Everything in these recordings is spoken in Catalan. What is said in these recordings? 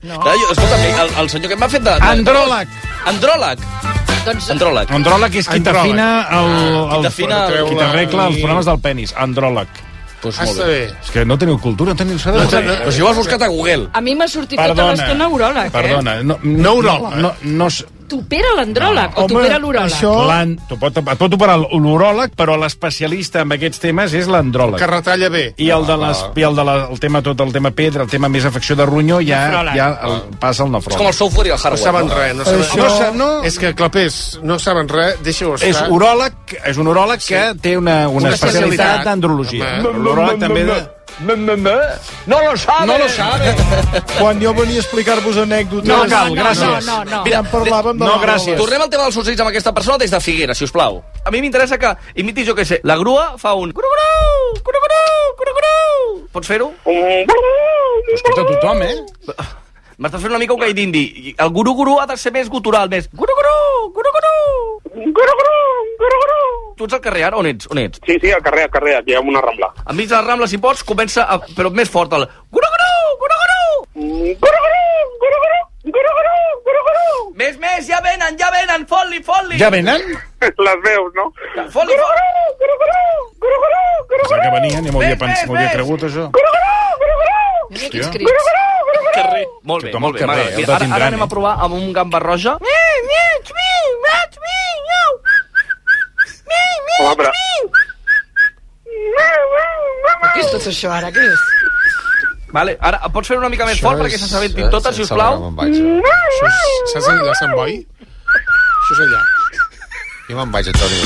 No. Clar, jo, escolta, el, el senyor que m'ha fet de... de- Andròleg. Andròleg. Doncs Andròleg. Andròleg és qui Andròleg. t'afina Ah. el, el, Ah. qui t'afina el- qui t'arregla els problemes del penis. Andròleg. Pues molt Ah, Està bé. bé. És que no teniu cultura, no teniu saber. No, no, Però si ho has buscat a Google. A mi m'ha sortit tota Perdona. l'estona uròleg, Perdona. No, uròleg. No, no, no, eh? T'opera l'andròleg o Home, t'opera l'uròleg? això- L'an... t'ho Pot, et pot operar l'uròleg, però l'especialista en aquests temes és l'andròleg. Que retalla bé. I el, de Ah, les, i el, de la, el tema tot, el tema pedra, el tema més afecció de ronyó, ja, Nefròleg. ja el, passa el És com nefròleg. el software i el No hardware. saben no? res, no saben... Això- sa- no- És que, clapers, no saben res, deixa-ho estar. És uròleg, és un uròleg que té una, una, Una especialitat. especialitat d'andrologia. Home. L'uròleg també... De... No lo saben. No lo saben. Quan jo venia a explicar-vos anècdotes... No cal, gràcies. No, no, no. Ja en parlàvem de No, la gràcies. roba. Tornem al tema dels ocells amb aquesta persona des de Figuera, si us plau. A mi m'interessa que imitis, jo què sé, la grua fa un... Curu-curu, curu-curu, curu-curu. Pots fer-ho? Ho escolta tothom, eh? M'estàs fent una mica un gai d'indi. I El guru-guru ha de ser més gutural, més... Guru-guru, guru-guru, guru-guru, guru-guru. Tu ets al carrer, ara? On ets? On ets? Sí, sí, al carrer, al carrer, aquí hi ha una rambla. Enmig de la Rambla, si pots, comença, a... però més fort, el... Guru-guru, guru-guru. Més, més, ja venen, ja venen, fot-li, fot-li. Ja venen? Les veus, no? Fot-li, fot-li. Pensava que venien, ja m'ho havia, Ves, pens... ves, m'ho havia ves. cregut, això. Mira Hòstia. quins crits. Carrer. Molt bé, Tothom al molt bé. carrer, m'agrada. heu de Mira, ara, tindran, ara anem eh? a provar amb un gamba roja. Home, però... Què és tot això, ara? Què és? Vale, ara pots fer una mica més fort perquè se s'assabentin totes, si us plau. Això és- Saps allà, Sant Boi? Això és allà. Jo me'n vaig a Tòria.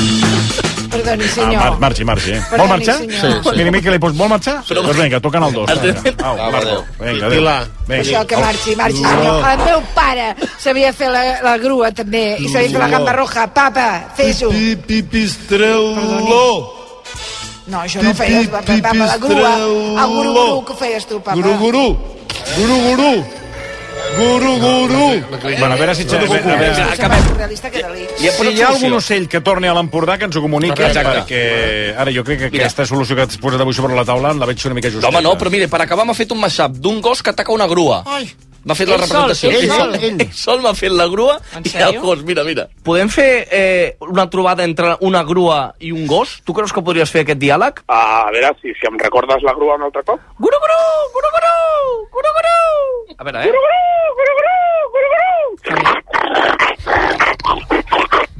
Perdoni, Ah, senyor. mar marxi, marxi, eh? Perdoni, Vol marxar? senyor. Sí, sí. Miri, Miquel, doncs vol marxar? Però... Doncs vinga, toquen el dos. El de- Vinga, Au, Au, Marco. adéu. Vinga, Pilar. adéu. Això, que marxi, marxi, senyor. El meu pare sabia fer la, la grua, també, i sabia fer la gamba roja. Papa, fes-ho. Pi, pi, pistreulo. No, això no ho feies, papa, papa, la grua. Ah, El guru-guru que ho feies tu, papa. Guru, guru. Guru, guru. Guru, guru. Bueno, a veure si... A veure, a veure, Mira, El acabem. surrealista que delic. Ja Si posat hi ha algun solució. ocell que torni a l'Empordà, que ens ho comuniqui, Exacte. perquè ara jo crec que Mira. aquesta solució que has posat avui sobre la taula la veig una mica No, justeta. home, no, però mire, per acabar m'ha fet un mashup d'un gos que ataca una grua. Ai. M'ha fet la Ell sol, representació. ell sol. ell, ell sol m'ha fet la grua En i el sèrio? gos, mira, mira. Podem fer eh, una trobada entre una grua i un gos? Tu creus que podries fer aquest diàleg? A veure, si, si em recordes la grua un altre cop. Guru, guru, guru, guru, guru, guru. A veure, eh? Guru, guru, guru, guru,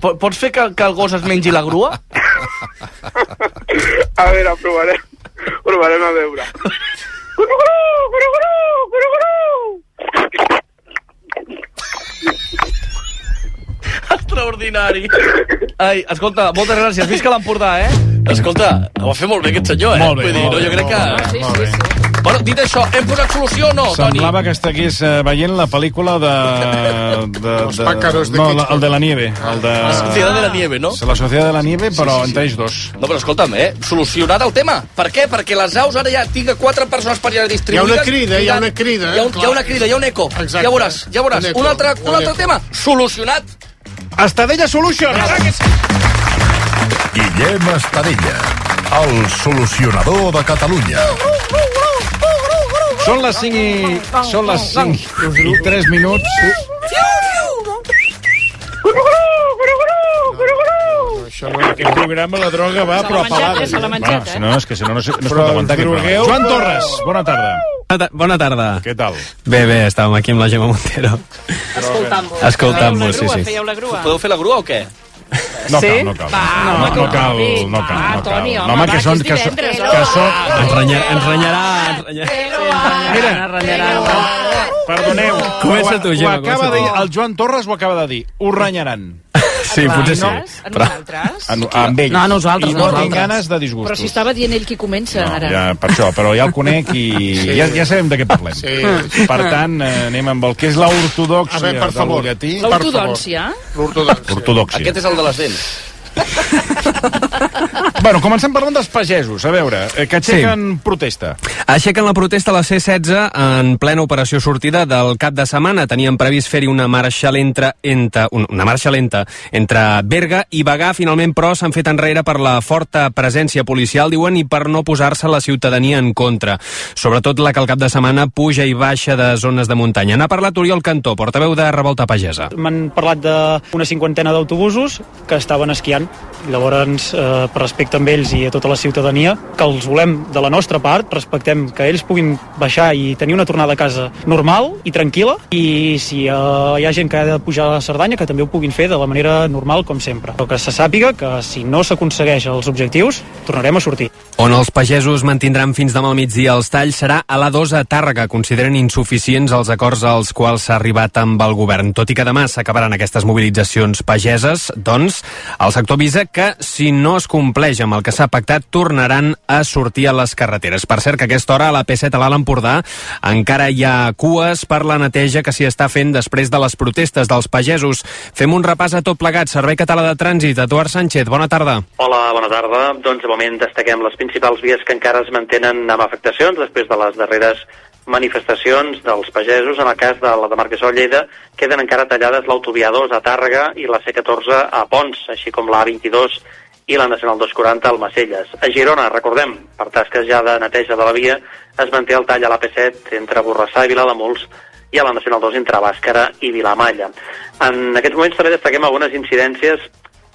guru. Pots fer que, que el gos es mengi la grua? A eh. veure, provarem. Provarem a veure. Extraordinari. Ai, escolta, moltes gràcies. Visca l'Empordà, eh? Escolta, ho va fer molt bé aquest senyor, eh? Molt bé, Vull dir, molt no, bé, jo crec que... molt bé, molt bé. Bueno, dit això, hem posat solució o no, Semblava que estigués eh, veient la pel·lícula de... de, Los pájaros de no, la- Hitchcock. el de la nieve. El de... Toni? La Sociedad de la Nieve, no? La Sociedad de la Nieve, però entre ells dos. No, però escolta'm, eh? Solucionat el tema. Per què? Perquè les aus ara ja tinc quatre persones per allà distribuïdes. Hi ha una crida, hi ha una crida, eh? Hi ha, un, Clar. hi ha una crida, hi ha un eco. Exacte. Ja veuràs, ja veuràs. Un eco, Un, altre, un un altre eco. tema. Solucionat. Estadella Solution! Guillem Estadella, el solucionador de Catalunya. Són les 5 i... Són les 5 i 3 minuts. Això no... Aquest programa la droga va, però apagada. Se l'ha Bueno, menjat, si eh? no, és que si no, no, sé, no es Però pot aguantar aquest programa. drogueu, Joan però- Torres, bona tarda. Bona tarda. Què tal? Bé, bé, estàvem aquí amb la Gemma Montero. Escoltant-vos. Escoltant-vos, sí, sí. Fèieu la grua, Podeu fer la grua o què? No Sí? cal, no cal. Va, no, home, no, com cal, avui. no cal, Va, no cal. Ah, Toni, home, No, home, va, que són... que Que, és són- divendres, que home. són... Ens, renya, ens renyarà, ens renyarà. Mira. renyarà. Perdoneu. Comença ho- tu, ho Gemma, acaba de comença dir, tu. el Joan Torres ho acaba de dir. Ho renyaran. Ah, Sí, potser sí. A Però nosaltres? En, amb ells. No, a nosaltres, I no nosaltres. tinc ganes de disgustos. Però si estava dient ell qui comença, No, ara. ja, per això, però ja el conec i sí. ja, ja sabem de què parlem. Sí. Per tant, eh, anem amb el que és l'ortodòxia A veure, per favor. del per butlletí. favor. L'ortodòncia? L'ortodòxia. Ortodòxia. Aquest és el de les dents. Bueno, comencem parlant dels pagesos, a veure, eh, que aixequen sí. protesta. Aixequen la protesta a la C-16 en plena operació sortida del cap de setmana. Tenien previst fer-hi una marxa lenta entre, un- una marxa lenta entre Berga i Bagà. Finalment, però, s'han fet enrere per la forta presència policial, diuen, i per no posar-se la ciutadania en contra. Sobretot la que el cap de setmana puja i baixa de zones de muntanya. N'ha parlat Oriol Cantó, portaveu de Revolta Pagesa. M'han parlat d'una cinquantena d'autobusos que estaven esquiant. Llavors, eh, per respecte amb ells i a tota la ciutadania, que els volem de la nostra part, respectem que ells puguin baixar i tenir una tornada a casa normal i tranquil·la, i si eh, hi ha gent que ha de pujar a Cerdanya, que també ho puguin fer de la manera normal, com sempre. Però que se sàpiga que si no s'aconsegueix els objectius, tornarem a sortir. On els pagesos mantindran fins demà al migdia els talls serà a la 2 a Tàrrega. Consideren insuficients els acords als quals s'ha arribat amb el govern. Tot i que demà s'acabaran aquestes mobilitzacions pageses, doncs, el sector avisa que, si no es compleix amb el que s'ha pactat, tornaran a sortir a les carreteres. Per cert, que a aquesta hora a la P7 a l'Alt Empordà encara hi ha cues per la neteja que s'hi està fent després de les protestes dels pagesos. Fem un repàs a tot plegat. Servei Català de Trànsit, Eduard Sánchez, bona tarda. Hola, bona tarda. Doncs, de moment, destaquem les principals vies que encara es mantenen amb afectacions després de les darreres manifestacions dels pagesos. En el cas de la demarcació de Lleida, queden encara tallades l'autovia 2 a Tàrrega i la C14 a Pons, així com la A22 i la Nacional 240 al Macelles. A Girona, recordem, per tasques ja de neteja de la via, es manté el tall a la P7 entre Borrassà i Vilademuls i a la Nacional 2 entre Bàscara i Vilamalla. En aquests moments també destaquem algunes incidències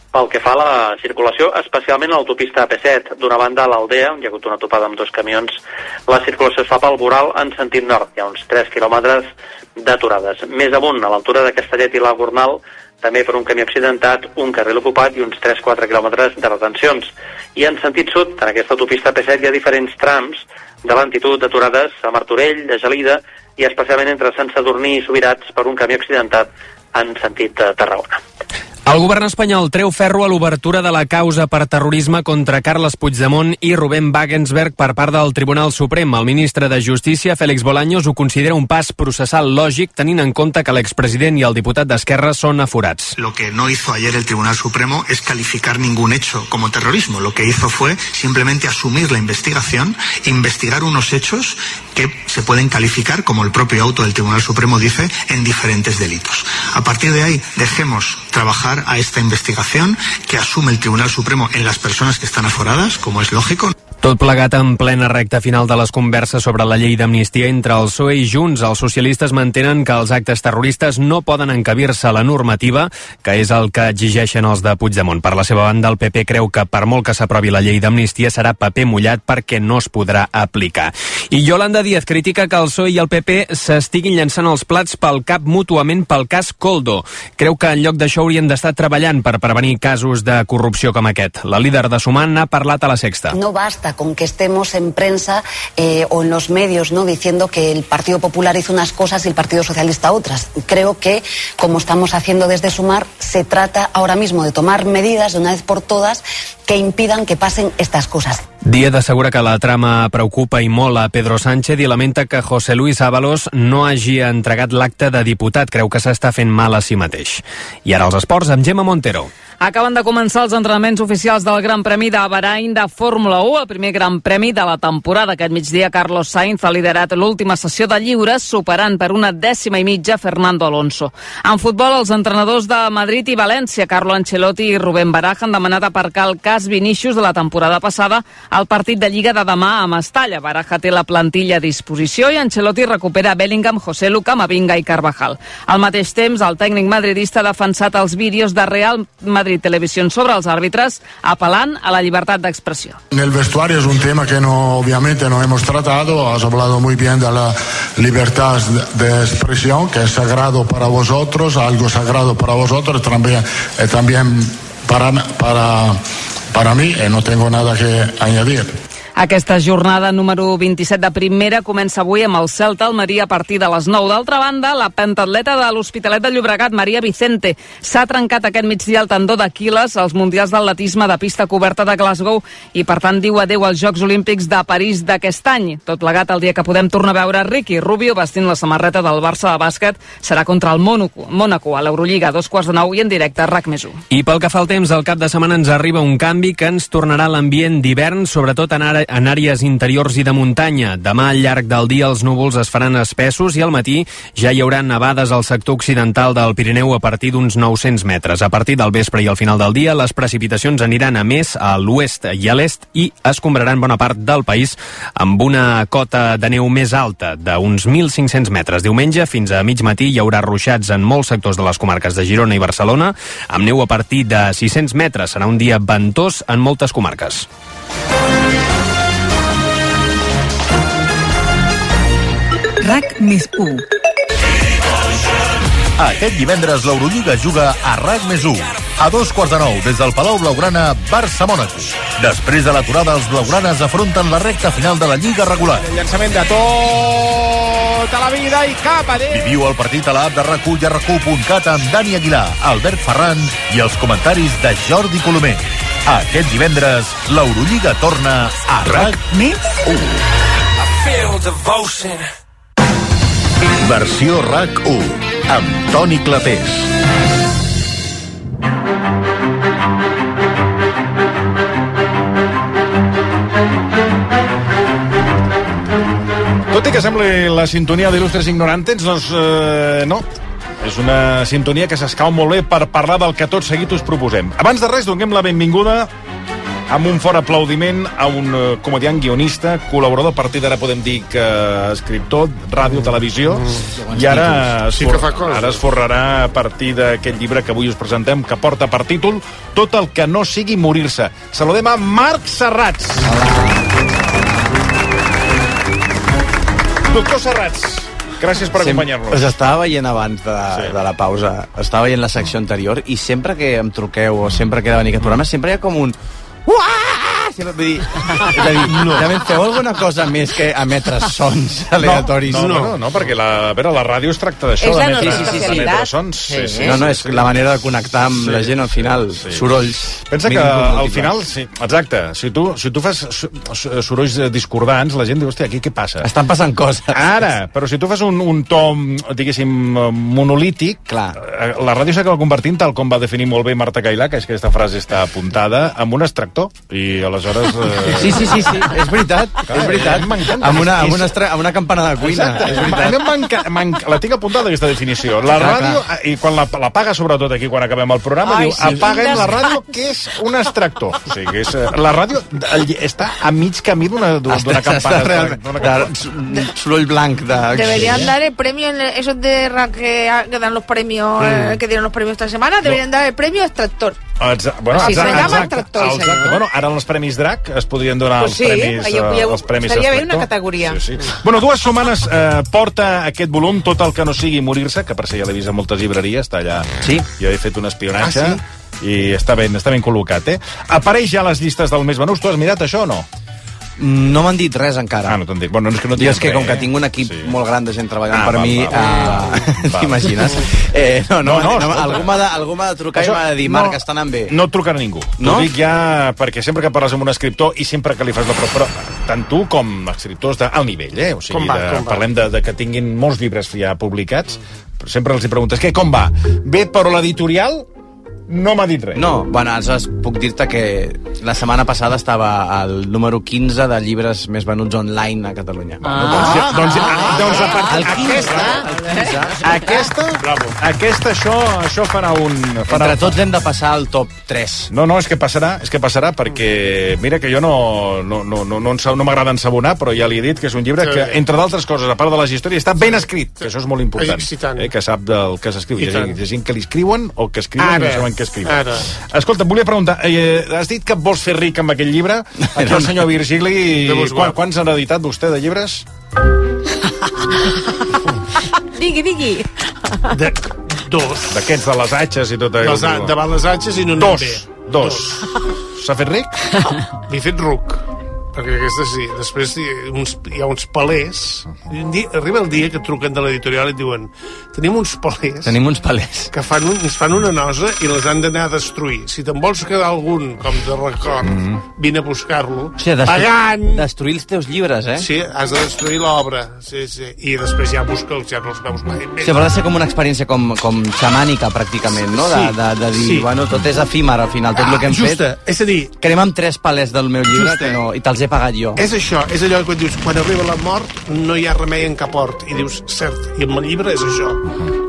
pel que fa a la circulació, especialment a l'autopista AP7, d'una banda a l'Aldea, on hi ha hagut una topada amb dos camions, la circulació es fa pel Boral en sentit nord, hi ha uns 3 quilòmetres d'aturades. Més amunt, a l'altura de Castellet i la Gornal, també per un camí accidentat, un carril ocupat i uns 3-4 quilòmetres de retencions. I en sentit sud, en aquesta autopista AP7 hi ha diferents trams de lentitud d'aturades a Martorell, a Gelida i especialment entre Sant Sadurní i Subirats per un camí accidentat en sentit eh, Tarragona. El govern espanyol treu ferro a l'obertura de la causa per terrorisme contra Carles Puigdemont i Rubén Wagensberg per part del Tribunal Suprem. El ministre de Justícia, Félix Bolaños, ho considera un pas processal lògic tenint en compte que l'expresident i el diputat d'Esquerra són aforats. Lo que no hizo ayer el Tribunal Supremo es calificar ningún hecho como terrorismo. Lo que hizo fue simplemente asumir la investigación, investigar unos hechos que se pueden calificar, como el propio auto del Tribunal Supremo dice, en diferentes delitos. A partir de ahí, dejemos trabajar a esta investigación que asume el Tribunal Supremo en las personas que están aforadas, como es lógico. Tot plegat en plena recta final de les converses sobre la llei d'amnistia entre el PSOE E i Junts. Els socialistes mantenen que els actes terroristes no poden encabir-se a la normativa, que és el que exigeixen els de Puigdemont. Per la seva banda, el PP creu que per molt que s'aprovi la llei d'amnistia serà paper mullat perquè no es podrà aplicar. I Yolanda Díaz critica que el PSOE E i el PP s'estiguin llançant els plats pel cap mútuament pel cas Coldo. Creu que en lloc d'això haurien d'estar treballant per prevenir casos de corrupció com aquest. La líder de Sumant ha parlat a la sexta. No basta con que estemos en prensa eh, o en los medios no diciendo que el Partido Popular hizo unas cosas y el Partido Socialista otras. Creo que, como estamos haciendo desde Sumar, se trata ahora mismo de tomar medidas de una vez por todas que impidan que pasen estas cosas. Díaz assegura que la trama preocupa i molt a Pedro Sánchez i lamenta que José Luis Ábalos no hagi entregat l'acte de diputat. Creu que s'està fent mal a si mateix. I ara els esports amb Gemma Montero. Acaben de començar els entrenaments oficials del Gran Premi de Bahrain de Fórmula 1, el primer Gran Premi de la temporada. Aquest migdia, Carlos Sainz ha liderat l'última sessió de lliures, superant per una dècima i mitja Fernando Alonso. En futbol, els entrenadors de Madrid i València, Carlo Ancelotti i Rubén Baraja, han demanat aparcar el cas Vinícius de la temporada passada al partit de Lliga de demà a Mestalla. Baraja té la plantilla a disposició i Ancelotti recupera Bellingham, José Lu, Camavinga i Carvajal. Al mateix temps, el tècnic madridista ha defensat els vídeos de Real Madrid Televisió sobre els àrbitres, apel·lant a la llibertat d'expressió. En el vestuario es un tema que no, obviamente no hemos tratado. Has hablado muy bien de la libertad de expresión, que es sagrado para vosotros, algo sagrado para vosotros, también, eh, también para, para, para mí, eh, no tengo nada que añadir. Aquesta jornada número 27 de primera comença avui amb el Celta Almeria a partir de les 9. D'altra banda, la pentatleta de l'Hospitalet de Llobregat, Maria Vicente, s'ha trencat aquest migdia el tendó d'Aquiles als Mundials d'Atletisme de pista coberta de Glasgow i, per tant, diu adeu als Jocs Olímpics de París d'aquest any. Tot plegat el dia que podem tornar a veure Ricky Rubio vestint la samarreta del Barça de bàsquet serà contra el Mónaco, Mónaco a l'Eurolliga a dos quarts de nou i en directe a RAC més 1. I pel que fa al temps, al cap de setmana ens arriba un canvi que ens tornarà a l'ambient d'hivern, sobretot en, ara- en àrees interiors i de muntanya. Demà, al llarg del dia, els núvols es faran espessos i al matí ja hi haurà nevades al sector occidental del Pirineu a partir d'uns 900 metres. A partir del vespre i al final del dia, les precipitacions Doncs aniran a més a l'oest i a l'est i escombraran bona part del país amb una cota de neu més alta, d'uns 1.500 metres. Diumenge, fins a mig matí, hi haurà ruixats en molts sectors de les comarques de Girona i Barcelona, amb neu a partir de 600 metres. Serà un dia ventós en moltes comarques. RAC més 1. Aquest divendres l'Eurolliga juga a RAC més 1. A dos quarts de nou, des del Palau Blaugrana, Barça-Mònaco. Després de l'aturada, els blaugranes afronten la recta final de la Lliga regular. El llançament de tota la vida i cap a Déu. Viviu el partit a l'app de rac i a rac amb Dani Aguilar, Albert Ferran i els comentaris de Jordi Colomer. Aquest divendres, l'Eurolliga torna a RAC més 1. Versió RAC 1, amb Toni Clapés. Tot i que sembli la sintonia d'il·lustres ignorantes, doncs eh, no. És una sintonia que s'escau molt bé per parlar del que tot seguit us proposem. Abans de res, donem la benvinguda amb un fort aplaudiment a un eh, comediant guionista, col·laborador, a partir d'ara podem dir que escriptor, ràdio, televisió, bons i ara, títols. Mm. Sí es que for- fa coses. ara es forrarà a partir d'aquest llibre que avui us presentem, que porta per títol Tot el que no sigui morir-se. Saludem a Marc Serrats. Ah. Doctor Serrats, gràcies per acompanyar-nos. Us estava veient abans de, sí. de la pausa, estava veient la secció anterior i sempre que em truqueu o sempre que he de venir a aquest programa, sempre hi ha com un... Uah! Sempre, vull dir, és a dir, no. també feu alguna cosa més que emetre sons aleatoris. No, no, no, no perquè la, a veure, la ràdio es tracta d'això. És la de nostra metre- de especialitat. metre Sons. Sí, sí, No, no, és la manera de connectar amb la gent al final, sorolls. Pensa que Mínim al múltiples. final, sí, exacte, si tu, si tu fas so- so- sorolls eh, discordants, la gent diu, hòstia, aquí què passa? Estan passant coses. Ara, però si tu fas un, un to, mm, diguéssim, eh, monolític, Clar. eh, la ràdio s'acaba convertint, tal com va definir molt bé Marta Cailà, que és que aquesta frase està apuntada, amb un extractor, i aleshores... Eh... Sí, sí, sí, sí, és veritat, Clar, és veritat. m'encanta. Amb una, És- amb, una estra, amb una campana de cuina, Exacte. és A veritat. mi m'enca- m'enca- La tinc apuntada, aquesta definició. La Clar, ràdio, eh, i quan la, la paga, sobretot aquí, quan acabem el programa, Ai, diu, sí, sí, quin apaguen la despatx." ràdio, que és un extractor. O sigui, que és, eh, la ràdio el, està a mig camí d'una d'una Està- està campana. realment- de- Soroll blanc de... Deberían dar el premio, en el- esos de ra- que, que dan los premios, eh, Mm. que dieron los premios esta semana, deberían dar el premio este extractor. Exa bueno, Així exacte, se llama exacte, extractor, exacte. senyor. Bueno, ara en els Premis DRAC es podrien donar Pues els sí, premis, hi hauria- eh, els premis estaria bé una extractor. categoria. Sí, sí. Bueno, dues setmanes eh, porta aquest volum, tot el que no sigui morir-se, que per si ja l'he vist a moltes llibreries, està allà. Sí. Jo he fet un espionatge Ah, i està ben, està ben col·locat, eh? Apareix ja a les llistes del més venus. Tu has mirat això o no? Mm, No m'han dit res encara. Ah, no t'han dit. Bueno, no és que no Jo és diguem que com res, que eh? tinc un equip sí. molt gran de gent treballant Ah, per va, mi, va, eh, t'imagines? Eh, no, no, no, no, escolta. algú m'ha de, algú m'ha de trucar Això i m'ha de dir, no- Marc, està anant bé. No et trucarà ningú. No? No? T'ho dic ja perquè sempre que parles amb un escriptor i sempre que li fas la prova, però tant tu com escriptors d'alt nivell, eh? O sigui, Com va, de, com va? parlem de, de que tinguin molts llibres ja publicats, però sempre els hi preguntes, què, com va? Bé, però l'editorial no m'ha dit res. No, bueno, aleshores puc dir-te que la setmana passada estava al número 15 de llibres més venuts online a Catalunya. Ah, Ah, doncs, ah, doncs a partir d'aquesta... Aquesta, aquesta això, això farà un... Farà Entre tots hem de passar al top 3. No, no, és que passarà, és que passarà perquè mira que jo no, no, no, no, no, ens- no m'agrada ensabonar, però ja li he dit que és un llibre Sí. que, entre d'altres coses, a part de les històries, està ben escrit, que això és molt important. És excitant. Eh, que sap del que s'escriu. I Hi, ha gent- tant. hi ha gent que li escriuen o que escriuen Ara. i no saben què escriuen. Ara. Escolta, et volia preguntar, eh, has dit que et vols fer ric amb aquest llibre? Aquí el senyor Virgili, Déu vos quan, guard. quants han editat vostè de llibres? Digui, digui. De, dos. D'aquests de les atxes i tot Les a- davant les atxes i no anem dos, bé. Dos. S'ha fet ric? M'he fet ruc. perquè aquesta sí. Després hi ha uns, hi ha uns palers. I un dia, arriba el dia que et truquen de l'editorial i et diuen tenim uns palers Tenim uns palers. que fan, un, ens fan una nosa i les han d'anar a destruir. Si te'n vols quedar algun com de record, mm. vine a buscar-lo. O sigui, destru pagant! destruir els teus llibres, eh? Sí, has de destruir l'obra. Sí, sí. I després ja busca'ls, ja no els veus mai O sigui, haurà de ser com una experiència com, com xamànica, pràcticament, no? De, Sí. de, de dir, Sí. bueno, tot és efímer, al final, tot el que hem Justa, fet. és a dir... Crema'm tres palers del meu llibre Justa. que no, i te'ls he pagat jo. És això, és allò que dius, quan arriba la mort no hi ha remei en cap hort. I dius, cert, i amb el llibre és això.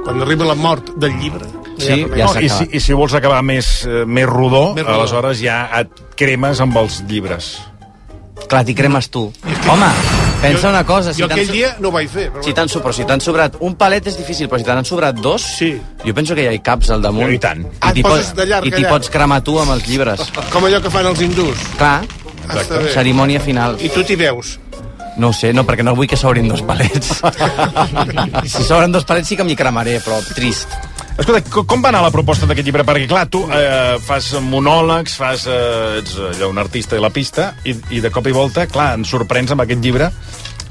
Quan arriba la mort del llibre... no hi ha remei. no, i, si, I si vols acabar més, eh, més, rodó, Més més rodó. rodó, aleshores ja et cremes amb els llibres. Clar, t'hi cremes tu. Home, pensa una cosa. Si jo t'han aquell so- dia no ho vaig fer, però... Si t'han sobrat, si t'han sobrat un palet és difícil, però si t'han sobrat dos, sí. jo penso que ja hi caps al damunt. I tant. Ah, et t'hi poses de llarg, i t'hi allà. pots cremar tu amb els llibres. Com allò que fan els hindús. Clar, Està bé. cerimònia final. I tu t'hi veus. No ho sé, no, perquè no vull que s'obrin dos palets. si s'obren dos palets sí que m'hi cremaré, però trist. Escolta, co- com va anar la proposta d'aquest llibre? Perquè, clar, tu eh, fas monòlegs, fas, eh, ets allò, un artista de la pista, i, i de cop i volta, clar, ens sorprens amb aquest llibre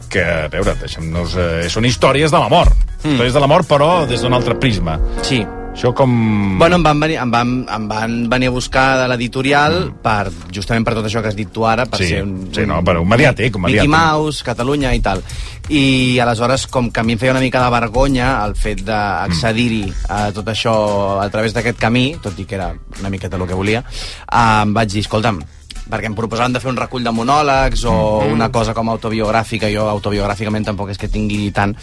que, a veure, deixem-nos... Eh, són històries de la mort. Mm. Històries de la mort, però des d'un altre prisma. Mm. Sí. Això com... Bueno, em van venir, em van, em van venir a buscar de l'editorial per, justament per tot això que has dit tu ara, per Mm. Sí, ser un... sí, no, per un mediàtic, un mediàtic. Mickey Mouse, Catalunya i tal. I aleshores, com que a mi em feia una mica de vergonya el fet d'accedir-hi a tot això a través d'aquest camí, tot i que era una miqueta el que volia, eh, em vaig dir, escolta'm, perquè em proposaven de fer un recull de monòlegs o Mm-hmm. una cosa com autobiogràfica, jo autobiogràficament tampoc és que tingui tant,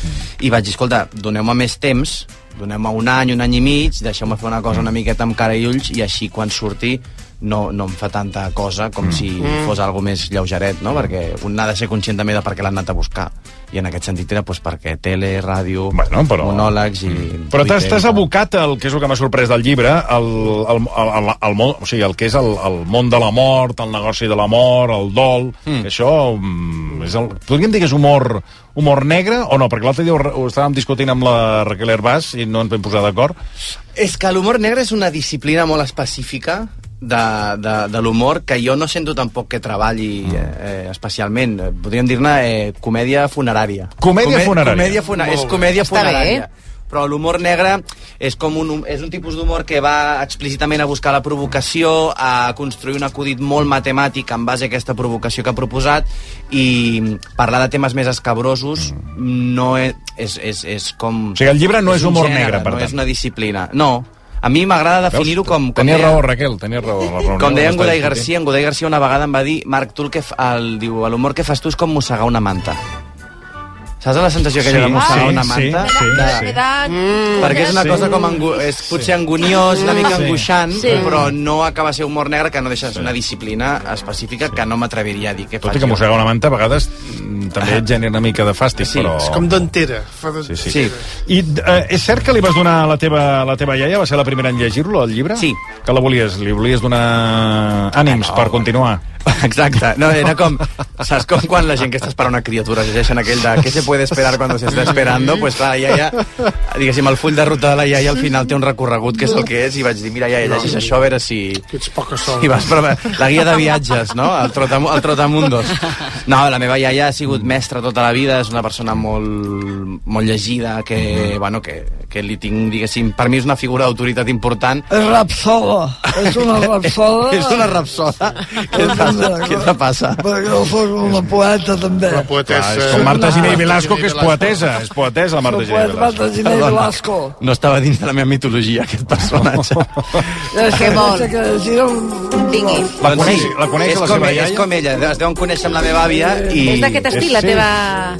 i vaig dir, escolta, doneu-me més temps, doneu-me un any, un any i mig, deixeu-me fer una cosa Mm. una miqueta amb cara i ulls, i així quan surti no, no em fa tanta cosa com si Mm. fos algo més lleugeret, no? Perquè un ha de ser conscient també de per què l'han anat a buscar. I en aquest sentit era doncs, perquè tele, ràdio, bueno, però... Mm. monòlegs i... Però t'has Twitter. t'has abocat al que és el que m'ha sorprès del llibre, al, al, al, al, al món, o sigui, el que és el, el món de la mort, el negoci de la mort, el dol, Hmm. mm. que això mm, és el... Podríem dir que és humor, humor negre o no? Perquè l'altre dia ho, re- ho estàvem discutint amb la Raquel Herbàs i no ens vam posar d'acord. És que l'humor negre és una disciplina molt específica de, de, de l'humor que jo no sento tampoc que treballi eh, eh, especialment. Eh, Podríem dir-ne eh, comèdia funerària. Comèdia funerària. Comèdia funa Molt és bé. comèdia Està bé, eh? funerària. Però l'humor negre és, com un, hum- és un tipus d'humor que va explícitament a buscar la provocació, a construir un acudit molt matemàtic en base a aquesta provocació que ha proposat i parlar de temes més escabrosos no és, és, és, és com... Mm. O sigui, el llibre no és un humor gènere, negre, per no tant. és una disciplina. No, a mi m'agrada definir-ho com... com Tenies deia- raó, Raquel, tenies raó. La reunió Com deia en que està Godai discutint. Garcia, en Godai Garcia una vegada em va dir Marc, tu el que f- el, diu, l'humor que fas tu és com mossegar una manta. Saps la sensació que Sí, sí, de mossegar sí, una sí, manta? sí, de, sí. Mm. Perquè és una cosa com angu... és potser angoniós, una mica Sí. angoixant, Sí. però no acaba de ser humor negre que no deixa de ser una disciplina específica que no m'atreviria a dir què Tot faig i que jo. mossegar una manta a vegades mm, Ah. també et genera una mica de fàstic, sí. però... És com d'entera. Fa de... Sí, sí. sí. I eh, és cert que li vas donar a la teva, a la teva iaia? Va ser la primera en llegir-lo, el llibre? Sí. Que la volies, li volies donar ànims per continuar. Ah, Exacte. No, era com... Saps com quan la gent que està esperant una criatura llegeixen aquell de què se puede esperar quan se está esperando? Pues clar, la iaia, diguéssim, el full de ruta de la iaia al final té un recorregut que és el que és i vaig dir, mira, iaia, llegeix això a veure si... Que ets poca sol. I vas provar la guia de viatges, no? El, trotam el Trotamundos. No, la meva iaia ha sigut mestra tota la vida, és una persona molt, molt llegida, Mhm. que, bueno, que, que li tinc, diguéssim, per mi és una figura d'autoritat important. És rapsoda. És una rapsoda. és una rapsoda. Què et passa? Què te passa? Perquè no fos una poeta, també. Una Clar, és com Marta Giné i Velasco, que és poetesa. És poetesa, la Marta Una Giné i poeta, Marta Velasco. Giné i Velasco. No estava dins de la meva mitologia, aquest personatge. És que vol. Que gira un... Vingui. La coneix, la coneix és la com, seva És iaia? com ella, es deuen conèixer amb la meva àvia. I... És d'aquest estil, la teva...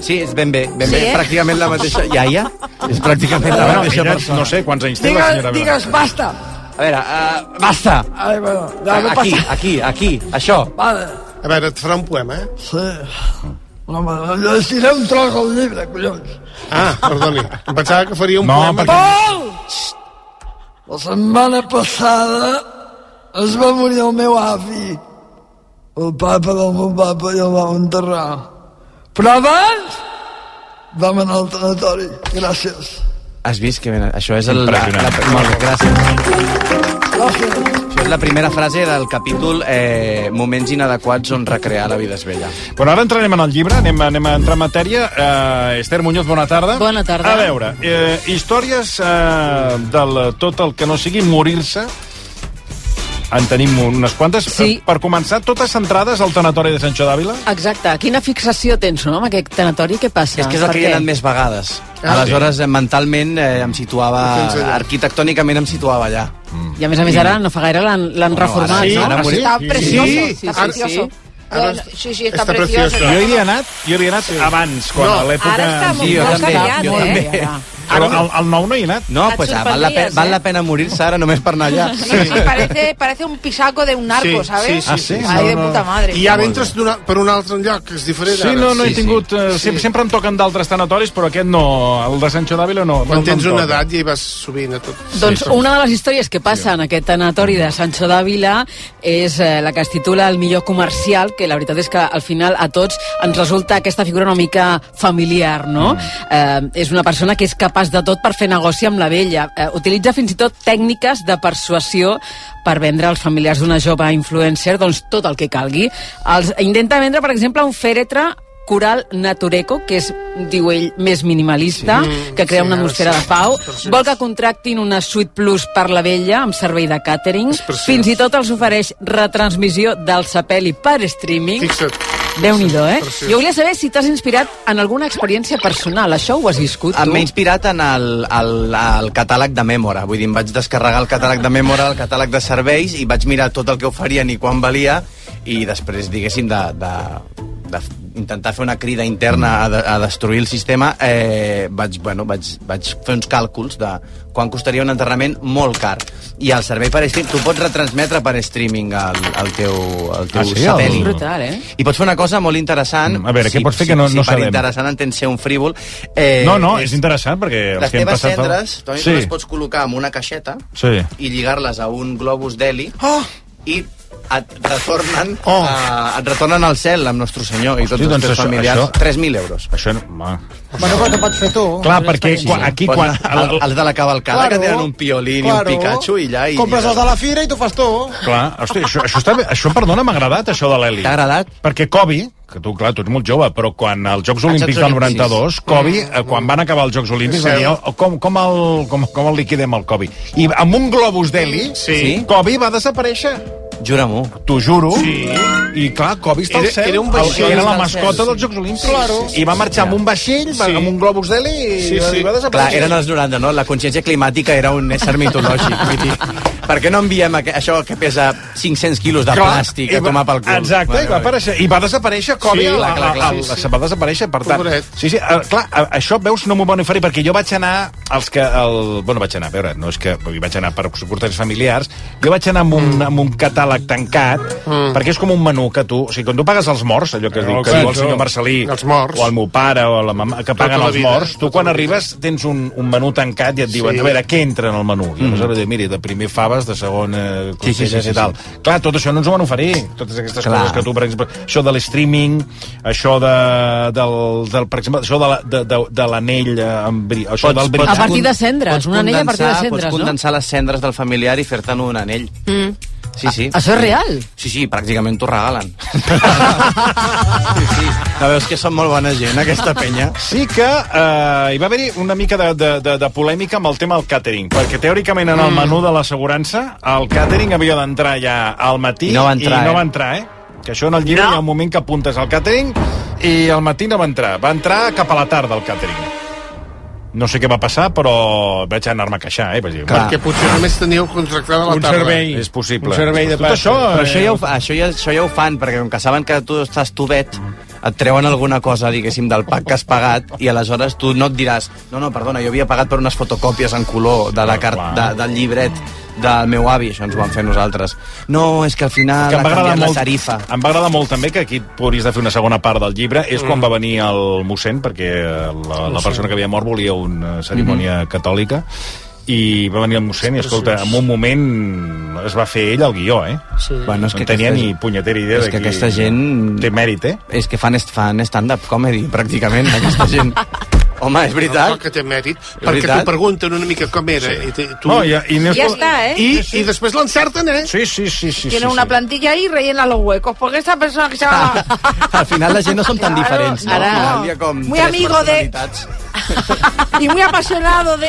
Sí, és ben bé, ben Sí, bé. eh? Pràcticament la mateixa iaia. És pràcticament la Bueno, mateixa ella, persona. no sé quants anys té la Digues, senyora digues, basta. A veure, uh, basta! Ai, bueno, ja no Ah, aquí, passa. aquí, aquí, això. Vale. A veure, et farà un poema, eh? Sí. Home, llegiré un tros al llibre, collons. Ah, perdoni. Em pensava que faria un No, poema... Pol! La setmana passada es va morir el meu avi. El papa del meu papa i el vam enterrar. Però abans vam anar al tanatori. Gràcies. Has vist que ben... Això és el... La, la, molt bé, gràcies. Això és la primera frase del capítol eh, Moments inadequats on recrear la vida és vella. Bueno, ara entrarem en el llibre, anem, anem a entrar en matèria. Uh, Esther Muñoz, bona tarda. Bona tarda. A veure, eh, històries eh, del tot el que no sigui morir-se, en tenim unes quantes. Eh, Sí. Per començar, totes centrades al tanatori de Sancho d'Àvila? Exacte. Quina fixació tens, no, amb aquest tanatori? Què passa? És que és el Ah, Per que hi he què? anat més vegades. Ah, Aleshores, eh, mentalment, eh, em situava... Ho tens allà. Arquitectònicament em situava allà. Mm. I a més a més ara no fa gaire l'han l'han reformat, sí, no? ara morir. Está precioso, Sí, está ara precioso. sí. Bueno, sí, sí, está, Està precioso. Jo hi havia anat, jo hi havia anat sí. abans, quan No, a l'època... ara està molt- Sí, jo molt també, canviat, jo eh? també. Ara. Però al, al nou no hi he anat. No, doncs pues, ah, val, la pena, val la pena morir-se ara només per anar allà. Sí, sí, parece, parece un pisaco de un narco, Sí, ¿sabes? sí, sí, Ah, sí? sí. Ay, de No, no. puta madre. I ara entres d'una- per un altre lloc, que és diferent. Sí, ara. no, no he tingut... Sí. Sempre, sempre em toquen d'altres tanatoris, però aquest no, el de Sancho d'Àvila no. Quan no, tens no em una toca. edat ja hi vas sovint a tot. Doncs una de les històries que passa en aquest tanatori de Sancho d'Àvila és eh, la que es titula El millor comercial, que la veritat és que al final a tots ens resulta aquesta figura una mica familiar, Mm. no? Eh, és una persona que és capaç de tot per fer negoci amb la vella. Eh, utilitza fins i tot tècniques de persuasió per vendre als familiars d'una jove influencer doncs, tot el que calgui. Els, intenta vendre, per exemple, un fèretre coral Natureco, que és, diu ell, més minimalista, Sí, que crea sí, una ara atmosfera sí. de pau. Preciós. Vol que contractin una suite plus per la vella amb servei de càtering. Fins i tot els ofereix retransmissió del sapeli per streaming. Fixa't. Déu-n'hi-do, eh? Preciós. Jo volia saber si t'has inspirat en alguna experiència personal. Això ho has viscut, tu? M'he inspirat en el, el, el catàleg de Mèmora. Vull dir, em vaig descarregar el catàleg de Mèmora, el catàleg de serveis, i vaig mirar tot el que oferien i quan valia, i després, diguéssim, de, de, de f- intentar fer una crida interna a, de, a destruir el sistema, eh, vaig, bueno, vaig, vaig fer uns càlculs de quan costaria un entrenament molt car. I el servei per streaming, tu pots retransmetre per streaming el, el teu, el teu Ah, sí? satèl·lit. El- Brutal, eh? I pots fer una cosa molt interessant... Mm, a veure, què pots fer que no- si, no si sabem? per interessant entens ser un frívol... Eh, No, no, és interessant, perquè els Les que hem teves passat... cendres, també Sí, tu les pots col·locar en una caixeta sí. i lligar-les a un globus d'heli oh! i et retornen, oh. a, et retornen al cel amb Nostre Senyor i tots Hosti, els doncs teus això- familiars. això- 3.000 euros. Això, home... Bueno, però que pots fer Oh, tu. Clar, perquè quan- aquí Pots quan- anar al- Els de la cavalcada, Claro, que tenen un piolín claro. i un Pikachu i allà... I Compres els de la fira i t'ho fas tu. Clar, hosti, això, això, està bé. això perdona, m'ha agradat, això de l'heli. T'ha agradat? Perquè Kobe, que tu, clar, tu ets molt jove, però quan als Jocs Olímpics del Olímpics. Mm. 92, Kobe, eh, quan van acabar els Jocs Olímpics, Sí. van dir, "Oh, com, com, el, com, com el liquidem el Kobe? I amb un globus d'heli, sí. Kobe va desaparèixer. Jura-m'ho. T'ho juro. Sí. I clar, Kobe està al Era- cel. era un vaixell. Ah, El- Era la Està al cel, mascota sí. dels Jocs Olímpics. Claro. I va marxar amb un vaixell, va, Sí. amb un globus d'heli i, Sí, va- sí. i va Clar, desaparèixer. eren els 90, no? La consciència climàtica era un ésser mitològic. Vull dir, per què no enviem aqu- això que pesa 500 quilos de Clar, plàstic i a va- tomar pel cul? Exacte, i va aparèixer- i va desaparèixer Kobe Sí, a la- clar, clar, clar. a- a- Sí, sí. se va desaparèixer, per tant. Pobret. Sí, sí, eh, clar, a- això, veus, no m'ho van oferir, perquè jo vaig anar als que- al- bueno, vaig anar, a veure, no és que- vull dir, vaig anar per suporters familiars, jo vaig anar amb Mm. un- amb un catàleg tancat, perquè és com un menú que tu- o sigui, quan tu pagues els morts, allò que es diu, que Oh, clar, diu el això. senyor Marcelí, Els morts. o el meu pare, o la mama, que Tota paguen la els vida, morts, tu tota quan la vida. arribes tens un- un menú tancat i et diuen, Sí. a veure, què entra en el menú? I aleshores diu, miri, de primer faves, de segon, eh, costelles Mm. sí, sí, i sí. tal. Clar, tot això no ens ho van oferir. Totes aquestes Clar. Clar. coses que tu, per exemple, això de l'streaming, això de, del, del, per exemple, això de la- de- de- de l'anell eh, amb bri, això Pots- del bri... pots- A partir de cendres, Pots una anella a partir de condensar- cendres, Pots no? condensar les cendres del familiar i fer-te'n un anell. Mm. Sí, sí. A- això és real? Sí, sí, pràcticament t'ho regalen. sí, sí. No veus que són molt bona gent, aquesta penya? Sí que eh, hi va haver-hi una mica de, de, de, de polèmica amb el tema del càtering, perquè teòricament en el Mm. menú de l'assegurança el càtering havia d'entrar ja al matí I no va entrar, i no eh? va entrar eh? que això en el llibre no. hi ha un moment que apuntes al càtering i al matí no va entrar. Va entrar cap a la tarda el càtering. No sé què va passar, però vaig anar-me a queixar, eh? Vaig dir, Clar. Perquè potser només teníeu contractada la tarda. És possible. Tot Això, eh, Però això ja, ho, fa- això, ja, això ja ho fan, perquè com que saben que tu estàs tubet, et treuen alguna cosa, diguéssim, del pack que has pagat i aleshores tu no et diràs no, no, perdona, jo havia pagat per unes fotocòpies en color de Ah, la car de, del llibret del meu avi, això ens ho van fer nosaltres. No, és que al final que em va ha agradar canviat molt, la tarifa. em va agradar molt també que aquí podries de fer una segona part del llibre és quan Mm. va venir el mossèn perquè la, la Mossèn. persona que havia mort volia una cerimònia catòlica i va venir el mossèn i escolta, en un moment es va fer ell el guió eh? Sí. Bueno, és no que en tenia aquesta- ni punyetera idea és que de qui- aquesta gent té mèrit, eh? És que fan, est- fan stand-up comedy, pràcticament, aquesta gent. Home, és veritat. No, que té mèrit, perquè t'ho veritat. pregunten una mica com era. Sí. I, te- tu... No, i- i no es Ja pot- està, eh? I, i després l'encerten, eh? Sí, sí, sí. sí Tiene una plantilla ahí y rellena los huecos. Porque esta persona que se llama... Al final la gent no som tan Claro, diferents, no? ara- Al final hi ha com Muy tres amigo de- personalitats. y muy apasionado de...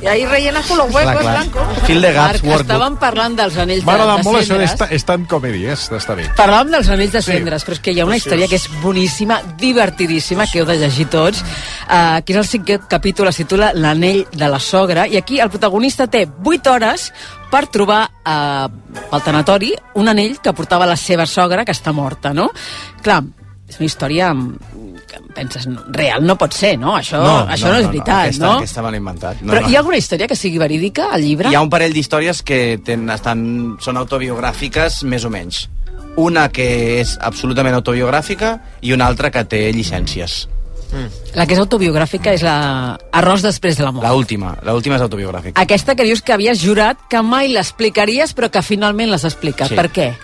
Y ahí rellenas con los huecos Clar, clar. blancos. Fill de gaps, Marc, workbook. estàvem parlant dels anells de, M'ha agradat molt de això cendres. d'estar estar en comèdia, eh? està bé. Parlàvem dels anells de Sí. cendres, però és que hi ha una Preciós. història que és boníssima, divertidíssima, que heu de llegir tots, eh, que és el cinquè capítol, es titula L'anell de la sogra, i aquí el protagonista té 8 hores per trobar eh, al tanatori un anell que portava la seva sogra, que està morta, no? Clar, és una història mm, que penses, "No, real no pot ser, no? Això no, això no, és veritat, aquesta, no? Aquesta me l'he inventat. No, Però no. hi ha alguna història que sigui verídica al llibre? Hi ha un parell d'històries que ten, estan, són autobiogràfiques, més o menys. Una que és absolutament autobiogràfica i una altra que té llicències. La que és autobiogràfica és la Arròs després de la mort. La última, la última és autobiogràfica. Aquesta que dius que havies jurat que mai l'explicaries, però que finalment l'has explicat. Sí. Sí. Per què?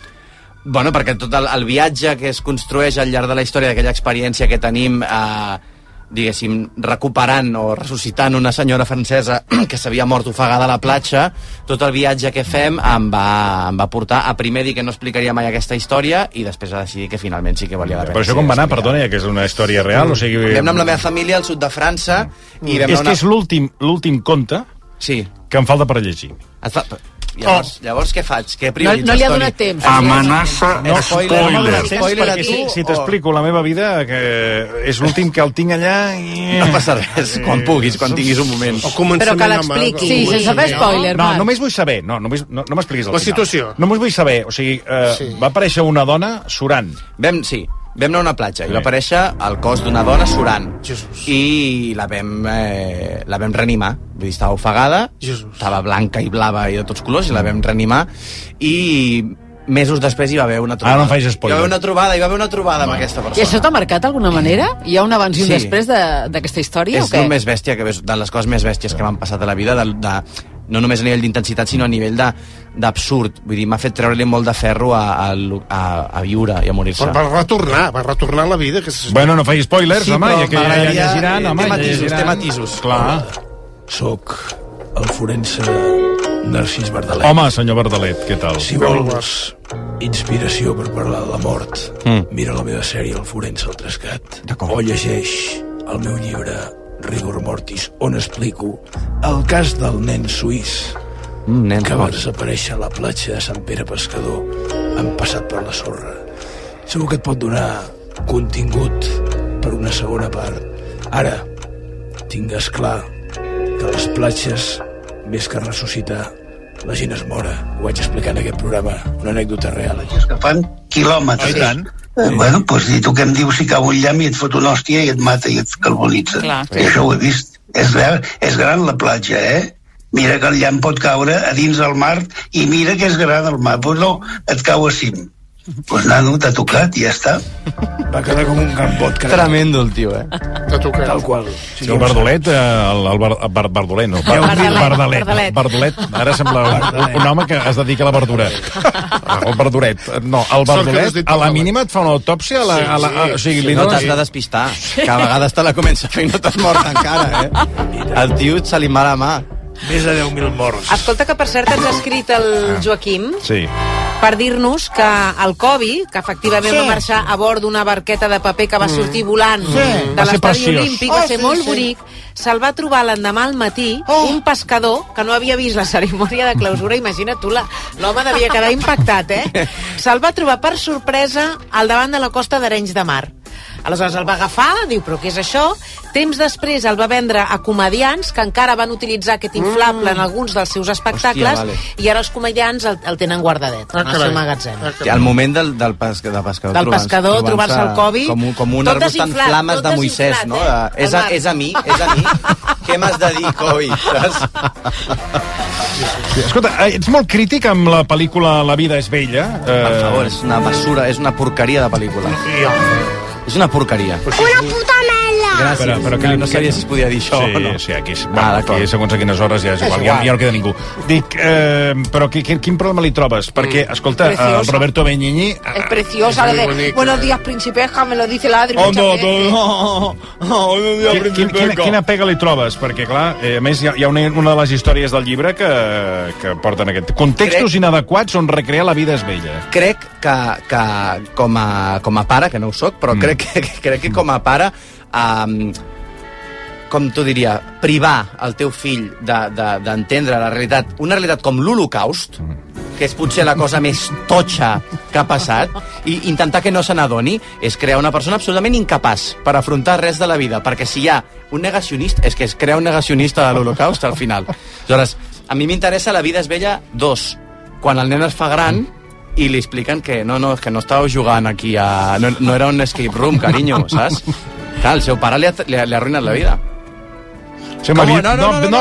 Bueno, perquè tot el, el viatge que es construeix al llarg de la història d'aquella experiència que tenim eh, diguéssim, recuperant o ressuscitant una senyora francesa que s'havia mort ofegada a la platja, tot el viatge que fem em va, em va portar a primer dir que no explicaria mai aquesta història i després a decidir que finalment sí que valia la pena. Però això com va anar, perdona, ja que és una història real, o sigui... Mm. Vam anar amb la meva família al sud de França i vam és anar que és l'últim l'últim conte sí. que em falta per llegir. Et fa... Llavors, oh. llavors què faig? Què prioritzes, no li ha Toni? donat temps. Amenaça, no Spoiler. spoiler. Spoiler a Perquè tu si, si o- t'explico la meva vida, que és l'últim que el tinc allà... I... eh, No passa res, quan puguis, quan tinguis un moment. O començament, Però que l'expliqui. home, o Sí, sense començament. fer spoiler, No, Marc. només vull saber, no, només, no, no m'expliquis el La final. situació. Només vull saber, o sigui, eh, sí. va aparèixer una dona surant. Vam, sí, vam anar a una platja i va aparèixer el cos d'una dona surant. Jesús. I la vam, eh, la vam reanimar. Vull dir, estava ofegada, Jesús. estava blanca i blava i de tots colors, i la vam reanimar. I mesos després hi va haver una trobada. Ara no em facis spoiler. Hi va haver una trobada, hi va haver una trobada amb aquesta I persona. això t'ha marcat d'alguna manera? Hi ha un abans i un Sí. sí. després de- d'aquesta de, història és o què? el més bèstia que, de les coses més bèsties que m'han passat a la vida de, de, no només a nivell d'intensitat sinó a nivell de- d'absurd vull dir, m'ha fet treure-li molt de ferro a, a, a, a viure i a morir-se Però va retornar, va retornar a la vida. Que... Bueno, no facis spoilers, Sí, home, però ja que ja, ja m'agradaria- llegiran, té home, ja matisos, llegiran. té matisos. Clar. Soc el forense Narcís Verdalet. Home, senyor Verdalet, què tal? Si vols inspiració per parlar de la mort, Hmm. mm. mira la meva sèrie El forense al trescat. O llegeix el meu llibre Rigor Mortis, on explico el cas del nen suís mm, nen, que va desaparèixer a la platja de Sant Pere Pescador han passat per la sorra segur que et pot donar contingut per una segona part ara tingues clar que a les platges més que ressuscitar la gent es mora ho vaig explicar en aquest programa una anècdota real que fan quilòmetres. Eh, bueno, doncs, i tu que em dius si cau un llamp i et fot una hòstia i et mata i et carbonitza. Clar. I això ho he vist. És, gran, és gran la platja, eh? Mira que el llamp pot caure a dins del mar i mira que és gran el mar. Però no, et cau a cim. Doncs pues, nano, t'ha tocat i ja està. va quedar com un gambot tremendo el tio, eh? t'ha tocat tal qual Sí, el Verdolet, eh, el, el Bar- Bar- Bardolet, no. Bar- Bardalet. Verdalet. Verdolet. Ara sembla un, un home que es dedica a la verdura. El verduret. No, el Sort que no has verdolet, dit a la mínima et fa una autòpsia, a la... A la a, o sigui, li no dones- t'has de despistar, que a vegades te la comença a fer i no t'has mort encara, eh? El tio se li mà la mà. Més de 10.000 morts. Escolta, que per cert ens ha escrit el Ah. Joaquim Sí. per dir-nos que el Kobe, que efectivament Sí. sí. va marxar a bord d'una barqueta de paper que va Mm. sortir volant Sí. de Va ser l'estadi preciós. olímpic, va Oh, ser sí, molt sí. Oh. bonic, se'l va trobar l'endemà al matí un pescador que no havia vist la cerimònia de clausura, imagina't tu, la- l'home devia quedar impactat, eh? Se'l va trobar per sorpresa al davant de la costa d'Arenys de Mar. Aleshores el va agafar, diu, però què és això? Temps després el va vendre a comedians que encara van utilitzar aquest inflable Mm. en alguns dels seus espectacles Hòstia, vale. i ara els comedians el, el tenen guardadet en el seu magatzem. Al moment del, del, pesca, del pescador, Del trobar-se- pescador, trobar-se el Covid, Com, un- com un tot arbust en desinflat, flames tot de Moisès, desinflat, no? eh? De, és, a, és a mi, és a mi. Què m'has de dir, Covid? Saps? Sí, Escolta, eh, ets molt crític amb la pel·lícula La vida és vella. Eh... Per favor, és una basura, és una porqueria de pel·lícula. És una porqueria. Una puta merda! Gràcies. Però, però que, no sabia si es podia dir això sí, o no. Ah, Sí, aquí, és, bueno, aquí segons a quines hores ja és És igual, ja, igual. ja no queda ningú. Dic, eh, però qui, qui, quin problema li trobes? Mm. Perquè, escolta, el Preciosa. Roberto Benigni... eh, Es preciosa, Es eh. la muy de bonita. Buenos días, principeja, me lo dice la Adri. Oh, muchas no, veces. no, Oh, no, no, dia, quina, quina, Principeco. quina pega li trobes? Perquè, clar, eh, a més, hi ha, hi ha una, una de les històries del llibre que, que porten aquest... Contextos Crec... inadequats on recrear la vida és vella. crec que, que com, a, com a pare, que no ho sóc, però mm. crec, que, crec que com a pare... Um, com t'ho diria, privar el teu fill de- de- d'entendre de, la realitat, una realitat com l'Holocaust, que és potser la cosa més totxa que ha passat, i intentar que no se n'adoni és crear una persona absolutament incapaç per afrontar res de la vida, perquè si hi ha un negacionista, és que es crea un negacionista de l'Holocaust al final. Aleshores, a mi m'interessa La vida és vella 2, quan el nen es fa gran i li expliquen que no, no, és que no estava jugant aquí a... No, no era un escape room, carinyo, saps? Clar, el seu pare li ha, li ha, li ha arruïnat la vida. Sí, Com? m'havia- no, no, no, no, no, no, No ho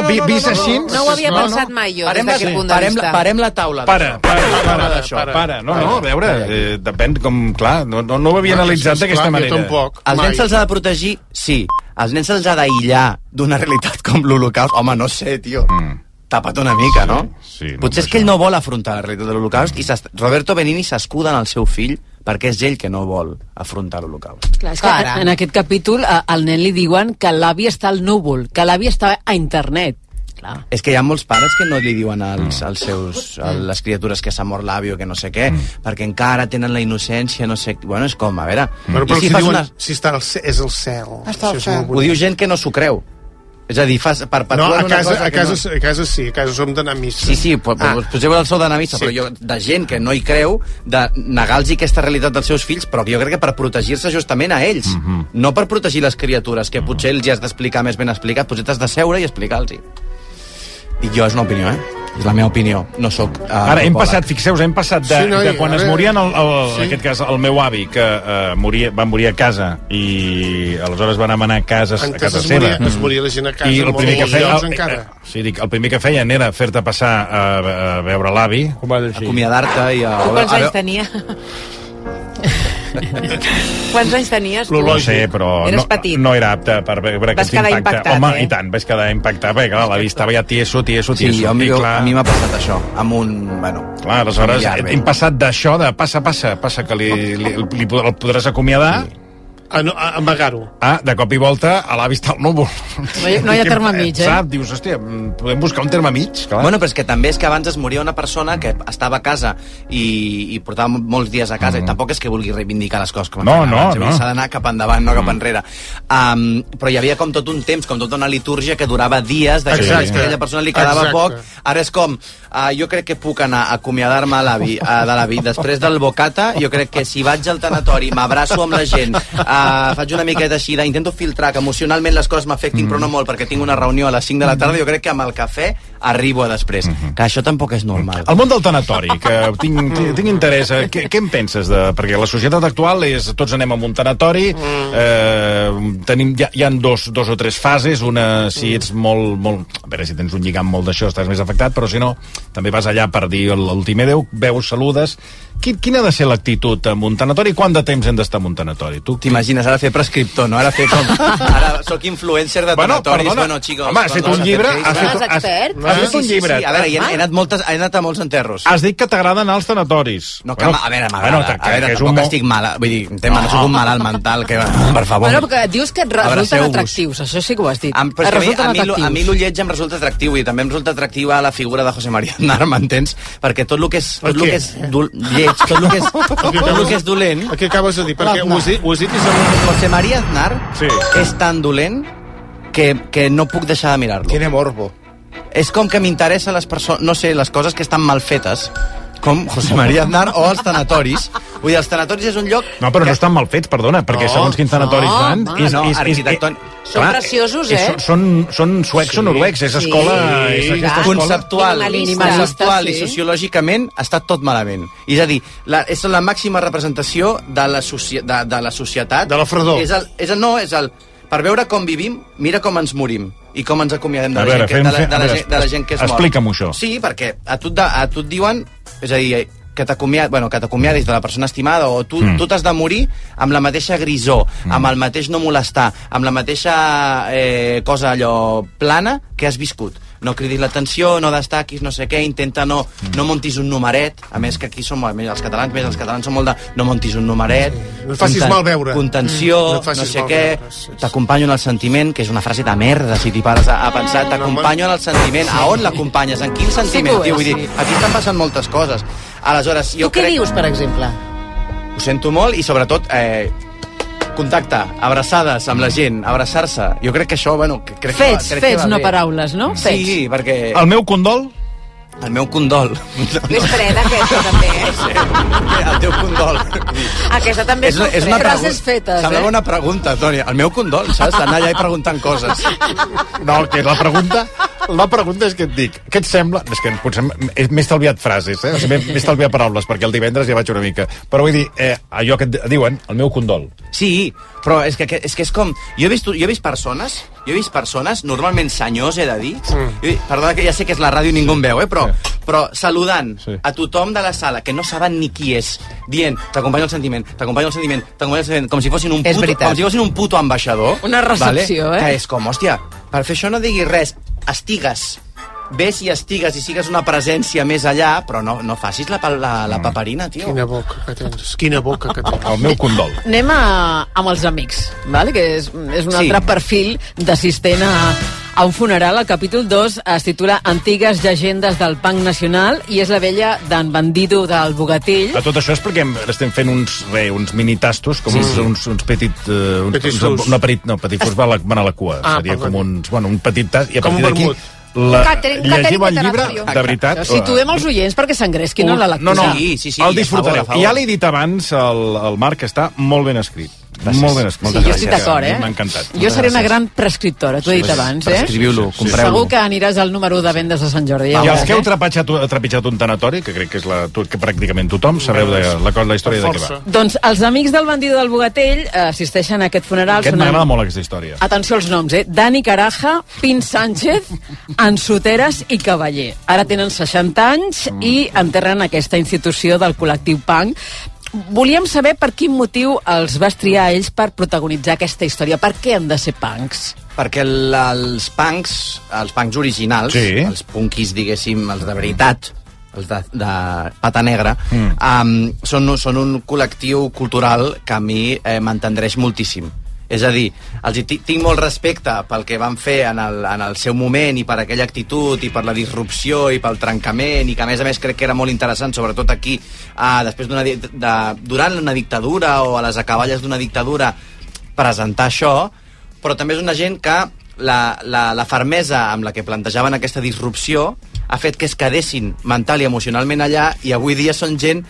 havia pensat mai jo, Parem des d'aquest la- punt de parem la- vista. parem la taula Para, d'això. para, Parem la para, taula para, d'això. para. No, Ah, no, a veure, eh, depèn com... Clar, no, no, no ho havia Clar, analitzat sí, d'aquesta clar, jo manera. tampoc, Els nens mai. se'ls ha de protegir? Sí. Els nens se'ls ha d'aïllar d'una realitat com l'Holocaust. Home, no sé, tio. Mm. Tapa't una mica, sí, no? Sí, no Potser és que ell no vol afrontar la realitat de l'Holocaust i s'est- Roberto Benini s'escuda en el seu fill perquè és ell que no vol afrontar l'Holocaust. Clar, és que Para. en aquest capítol a- al nen li diuen que l'avi està al núvol, que l'avi està a internet. És que hi ha molts pares que no li diuen als, als seus, a les criatures que s'ha mort l'avi o que no sé què, mm. perquè encara tenen la innocència, no sé... Bueno, és com, a veure... Però, però I si, fas diuen, una- si està al, ce- és el cel. Està Això és molt Ho bonic. diu gent que no s'ho creu. És a dir, fas, perpetuen No, a una casa, cosa a que casa, no... a casa sí, a casa som d'anar a missa. Sí, sí, po- Ah. po- potser vols sou d'anar a missa, Sí. però jo, de gent que no hi creu, de negar-los aquesta realitat dels seus fills, però que jo crec que per protegir-se justament a ells, Mhm. no per protegir les criatures, que potser els ja has d'explicar més ben explicat, potser t'has de seure i explicar-los. Dic jo, és una opinió, eh? És la meva opinió, no sóc... Uh, Ara, hem passat, fixeu-vos, hem passat de, Sí, noi, de quan a es veure. morien, el, el, sí. Sí. en aquest cas, el meu avi, que eh, moria, va morir a casa i aleshores van anar a casa, a Antes casa es seva. moria- es moria la gent a casa, I el molt primer que molts feia, llocs el, encara. eh, sí, dic, el primer que feien era fer-te passar a, a veure l'avi. Acomiadar-te i Ah, a... Tu quants anys tenia? quants anys tenies? tu? No sé, però Eres no, petit. no era apte per veure Vas aquest quedar impacte. impactat, Home, eh? i tant, vaig quedar impactat, perquè clar, la vista veia tieso, tieso, Sí, tieso. jo, a mi- I, clar, a mi m'ha passat això, amb un... Bueno, Clar, aleshores, familiar, bé. hem passat d'això de passa, passa, passa, que li, li, li, li el podràs acomiadar... Sí. A, no, a amagar-ho. Ah, de cop i volta, a l'avi està al núvol. No hi- no hi ha terme mig, eh? Sap, dius, hòstia, mm, podem buscar un terme mig, clar. Bueno, però és que també és que abans es moria una persona que estava a casa i, i portava mo- molts dies a casa mm. i tampoc és que vulgui reivindicar les coses com No, estaven no, abans, vull dir, no. s'ha d'anar cap endavant, no cap enrere um, però hi havia com tot un temps com tota una litúrgia que durava dies de que Exacte. a aquella persona li quedava Exacte. poc ara és com, uh, jo crec que puc anar a acomiadar-me a l'avi, uh, de l'avi després del bocata, jo crec que si vaig al tanatori m'abraço amb la gent uh, faig una miqueta així, de, intento filtrar que emocionalment les coses m'afectin, mm. però no molt perquè tinc una reunió a les 5 de la tarda, jo crec que amb el cafè arribo a després, mm Mm-hmm. -hmm. que això tampoc és normal El món del tanatori, que tinc, tinc, tinc interès. eh, Què, què en penses? De, perquè la societat actual és... Tots anem a un tanatori, eh, tenim, hi, ha, hi ha dos, dos o tres fases, una si ets molt, molt... A veure, si tens un lligam molt d'això estàs més afectat, però si no, també vas allà per dir l'últim adeu, veus, saludes... Qui- Quina ha de ser l'actitud amb un tanatori? Quant de temps hem d'estar en un tanatori? Tu T'imagines ara fer prescriptor, no? Ara fer com... Ara sóc influencer de Bueno, tanatoris. perdona. Bueno, chicos, Home, has fet perdona, un llibre, que has fes- fet- has- expert? has fet Sí, un sí, llibre. Sí, a veure, hi he, Ah. he, anat moltes, he anat a molts enterros. Has dit que t'agrada anar als tanatoris. No, que, bueno, a veure, m'agrada. que- a veure, que és tampoc un mo- estic mal... Vull dir, un tema, no sóc un malalt mental que... Per favor. Bueno, perquè dius que et resulten Ah, Abraceu-vos. atractius, això sí que ho has dit. Em, però Et és que a resulten mi, a, mi, lo- a mi atractius. l'Ullets em resulta atractiu i també em resulta atractiva la figura de José María Aznar, m'entens? Perquè tot el que és, tot el que és dol, lleig, tot el que és, tot el que és dolent... El que acabes de dir, perquè ho has dit, ho has dit i sembla... José María Aznar sí. és tan dolent que, que no puc deixar de mirar-lo. Tiene morbo. És com que m'interessa les persones, no sé, les coses que estan mal fetes, com José María Aznar o els tanatoris. Vull dir, els tanatoris és un lloc... No, però no estan mal fets, perdona, perquè No, segons quins tanatoris no, van... home, no, arquitectònic. Són clar, preciosos, és- eh? Són, són suecs o noruecs, és escola... és aquesta escola... conceptual, Minimalista, conceptual i sí. sociològicament està tot malament. És a dir, la, és la màxima representació de la, soci, de, de la societat. De la fredor. És el, és el, no, és el... Per veure com vivim, mira com ens morim i com ens acomiadem de A la, veure, gent, que, fem- de la, fem- de a la, veure, gent, de la gent que es mor. explica'm això. Sí, perquè a tu, et da- a tu et diuen... És a dir, que t'acomiad, bueno, que t'acomiadis de la persona estimada o tu, Mm. mm. tu t'has de morir amb la mateixa grisó, mm. amb el mateix no molestar, amb la mateixa eh, cosa allò plana que has viscut. No cridis l'atenció, no destaquis, no sé què, intenta no, no montis un numeret, a més que aquí som, a més els catalans, més els catalans són molt de no montis un numeret, No et facis mal veure. contenció, Mm. No no, et facis no sé mal què, veure, t'acompanyo en el sentiment, que és una frase de merda, si t'hi pares a, a pensar, t'acompanyo en el sentiment, a on l'acompanyes, en quin sentiment, que ho tio, vull és, dir, aquí estan passant moltes coses. Aleshores, jo Tu què crec... dius, per exemple? Ho sento molt i sobretot eh, contacte, abraçades amb la gent, abraçar-se. Jo crec que això, bueno, que- crec que Fets, va, crec que fets, va no bé. paraules, no? Sí, sí, perquè... El meu condol? El meu condol. És freda, aquesta, també. eh? El teu condol. Aquesta també és, molt freda. eh? Semblava una pregunta, Toni. El meu condol, saps? Anar allà i preguntant coses. No, el que la pregunta... La pregunta és que et dic, què et sembla... És que potser m'he m'he estalviat frases, eh? O sigui, m'he m'he estalviat paraules, perquè el divendres ja vaig una mica. Però vull dir, eh, allò que et diuen, el meu condol. Sí, però és que, és que és com... Jo he vist, jo he vist persones, jo he vist persones, normalment senyors, he de dir, mm. perdona que ja sé que és la ràdio i ningú em veu, eh, però, però saludant sí. a tothom de la sala que no saben ni qui és, dient, t'acompanyo el sentiment, t'acompanyo el sentiment, t'acompanyo el sentiment, com si fossin un És puto, veritat. com si fossin un puto ambaixador. Una recepció, vale? eh? Que és com, hòstia, per fer això no diguis res, estigues, ves i estigues i sigues una presència més allà, però no, no facis la, pa- la, la paperina, tio. Mm. Quina boca que tens, quina boca que tens. El meu condol. Anem a, amb els amics, vale? que és, és un Sí. sí. altre perfil d'assistent a, a un funeral. El capítol 2 es titula Antigues llegendes del punk nacional i és la vella d'en Bandido del Bogatell. A tot això és perquè hem- estem fent uns, re, uns mini tastos, com Sí. sí. uns, uns, uns petit... Eh, uns, Petit uns, fus. un petit, no, petit fus va a la, van a la cua. Ah, Ah, Seria perdó. com uns, bueno, un petit tast, i a Com un partir d'aquí... vermut. La, Un càtering- llegiu un el càtering llibre, literario. de veritat... Situem els oients perquè s'engresquin a la lectura. No, no, el disfrutareu. Ja l'he dit abans al, al Marc, que està molt ben escrit. Gràcies. Molt ben escrit. Sí, jo estic d'acord, eh? M'ha encantat. Jo seré una gran prescriptora, t'ho he dit Sí, abans, eh? prescriviu-lo, compreu-lo. Segur que aniràs al número de vendes de Sant Jordi. I els que heu veuràs, eh? trepitjat, trepitjat un tanatori, que crec que és la, tu- que pràcticament tothom, sabeu de, la, la, la història de què va. Doncs els amics del bandido del Bogatell eh, assisteixen a aquest funeral. Aquest són en- m'agrada molt, aquesta història. Atenció als noms, eh? Dani Caraja, Pin Sánchez, Ansoteres i Cavaller. Ara tenen 60 anys i enterren aquesta institució del col·lectiu punk. Volíem saber per quin motiu els vas triar a ells per protagonitzar aquesta història. Per què han de ser punks? Perquè el, els punks, els punks originals, sí. els punkis, diguéssim, els de veritat, els de, de pata negra, mm. um, són, un- són un col·lectiu cultural que a mi eh, m'entendreix moltíssim. És a dir, els hi ti- tinc molt respecte pel que van fer en el, en el seu moment i per aquella actitud i per la disrupció i pel trencament i que a més a més crec que era molt interessant, sobretot aquí, ah, després d'una di- de, durant una dictadura o a les acaballes d'una dictadura, presentar això, però també és una gent que la, la, la fermesa amb la que plantejaven aquesta disrupció ha fet que es quedessin mental i emocionalment allà i avui dia són gent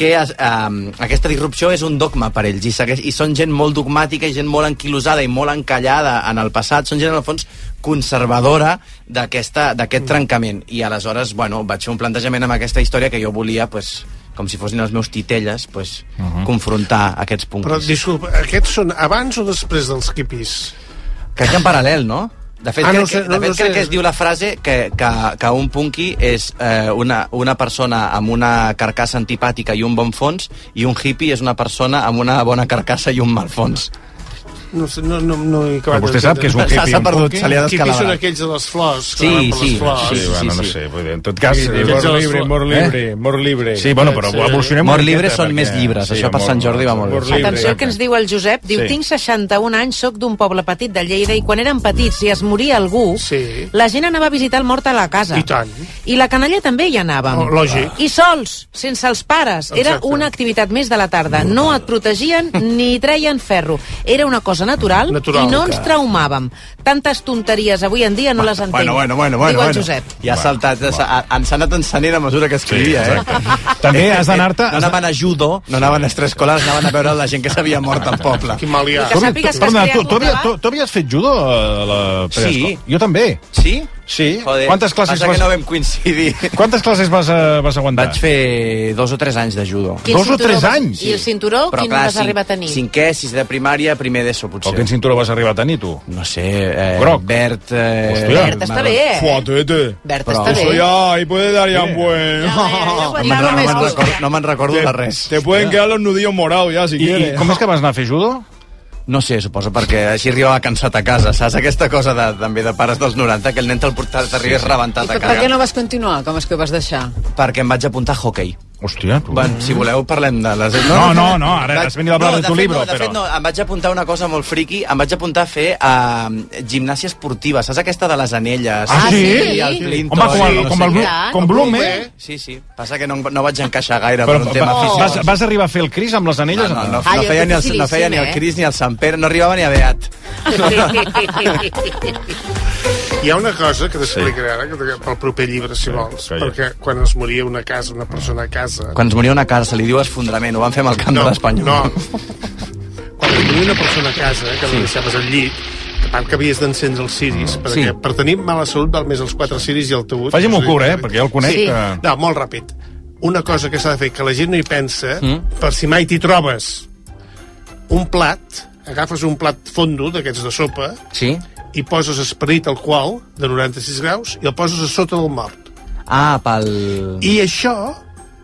que es, eh, aquesta disrupció és un dogma per ells i, segueix, i són gent molt dogmàtica i gent molt anquilosada i molt encallada en el passat, són gent en el fons conservadora d'aquesta- d'aquest trencament i aleshores, bueno, vaig fer un plantejament amb aquesta història que jo volia, pues, com si fossin els meus titelles, pues, uh -huh. confrontar aquests punts. Però, disculpa, aquests són abans o després dels quipis? Crec que en paral·lel, no? De fet, Ah, ah, no ho crec, sé, que, no- de no fet ho sé. crec que es diu la frase que, que, que un punky és eh, una, una persona amb una carcassa antipàtica i un bon fons i un hippie és una persona amb una bona carcassa i un mal fons. No, sé, no, no, no he acabat Però vostè sap que és un d'entendre. hippie, S'ha un perdut, punky? se li ha Quipis descalabrat. són aquells de les flors, que Sí, van per sí, les flors. Sí, bueno, no sé, vull dir, en tot cas... Sí, eh, aquests de les flors. Eh? Sí, bueno, però evolucionem Mort una libre miqueta, són perquè- més llibres, això per mort- Sant Jordi va molt bé. mort libre. Atenció al que ens diu el Josep. Diu, Sí. sí. tinc 61 anys, sóc d'un poble petit de Lleida i quan érem petits i es moria algú, sí. la gent anava a visitar el mort a la casa. I tant. I la canalla també hi anàvem. Oh, lògic. I sols, sense els pares. Era Exacte. una activitat més de la tarda. No et protegien ni treien ferro. Era una cosa natural, Natural, i no que- ens traumàvem. Tantes tonteries avui en dia no les entenc. Bueno, bueno, bueno, bueno. diu el bueno. Josep. Ja ha saltat, s'ha- han s'ha anat encenent a mesura que escrivia, Sí, eh? També has d'anar-te- No anaven a judo, no anaven a tres escolars, anaven a veure la gent que s'havia mort al poble. Quin mal Tu, tu, perdona, tu, tu, havies, tu, tu havies fet judo a la Sí. preescola? Jo també. Sí? Sí? Joder, Quantes classes passa vas- que no vam coincidir. Quantes classes vas, eh, vas aguantar? Vaig fer dos o tres anys de judo. Quin cinturó vas- I el cinturó, quin vas arribar a tenir? Cinquè, sis de primària, primer d'ESO, potser. O quin cinturó vas arribar a tenir, tu? No sé, eh, Groc. verd... Eh, Hòstia. Verd està bé, eh? Fuatete. Verd està bé. ahí puede dar ya un buen. No me'n re- no me'n recordo, no me'n recordo Te- de res. Te pueden quedar los nudillos morados ya, si I- i quieres. com és que vas anar a fer judo? No sé, suposo perquè així arribava cansat a casa, saps? Aquesta cosa de, també de pares dels 90, que el nen te'l portat, t'arribes rebentat a Per què casa. no vas continuar? Com és que ho vas deixar? Perquè em vaig apuntar a hockey. Hòstia, tu... Bueno, si voleu, parlem de les... No, no, no, ara has venido a hablar de de tu fet, libro, No, de però- fet, no, em vaig apuntar a una cosa molt friqui, em vaig apuntar a fer eh, gimnàsia esportiva, saps aquesta de les anelles? Ah, sí? I el Sí. plinto. Home, com el- i no com sé el què. Blu- Clar. com Blum, eh? Sí, sí, passa que no, no vaig encaixar gaire Però, per un tema va, físic. vas, vas arribar a fer el Cris amb les No, anelles? no, no, Ah, no feia, ni el, no feia ni eh? el Cris ni el Sant Pere, no arribava ni a Beat. Hi ha una cosa que t'explicaré ara, que pel proper llibre, si vols, perquè quan es moria una casa, una persona a casa... Quan es moria una casa, se li diu esfondrament, ho van fer amb el camp de l'Espanyol. No. Quan es moria una persona a casa, eh, que sí. la deixaves al llit, que part que havies d'encendre els ciris, perquè Mm. Sí. per tenir mala salut val més els quatre ciris i el taüt. Faci'm un curt, eh, perquè jo el conec, Sí. que- No, molt ràpid. Una cosa que s'ha de fer, que la gent no hi pensa, Mm. per si mai t'hi trobes un plat, agafes un plat fondo d'aquests de sopa, Sí? i poses esperit al qual, de 96 graus, i el poses a sota del mort. Ah, pel... I això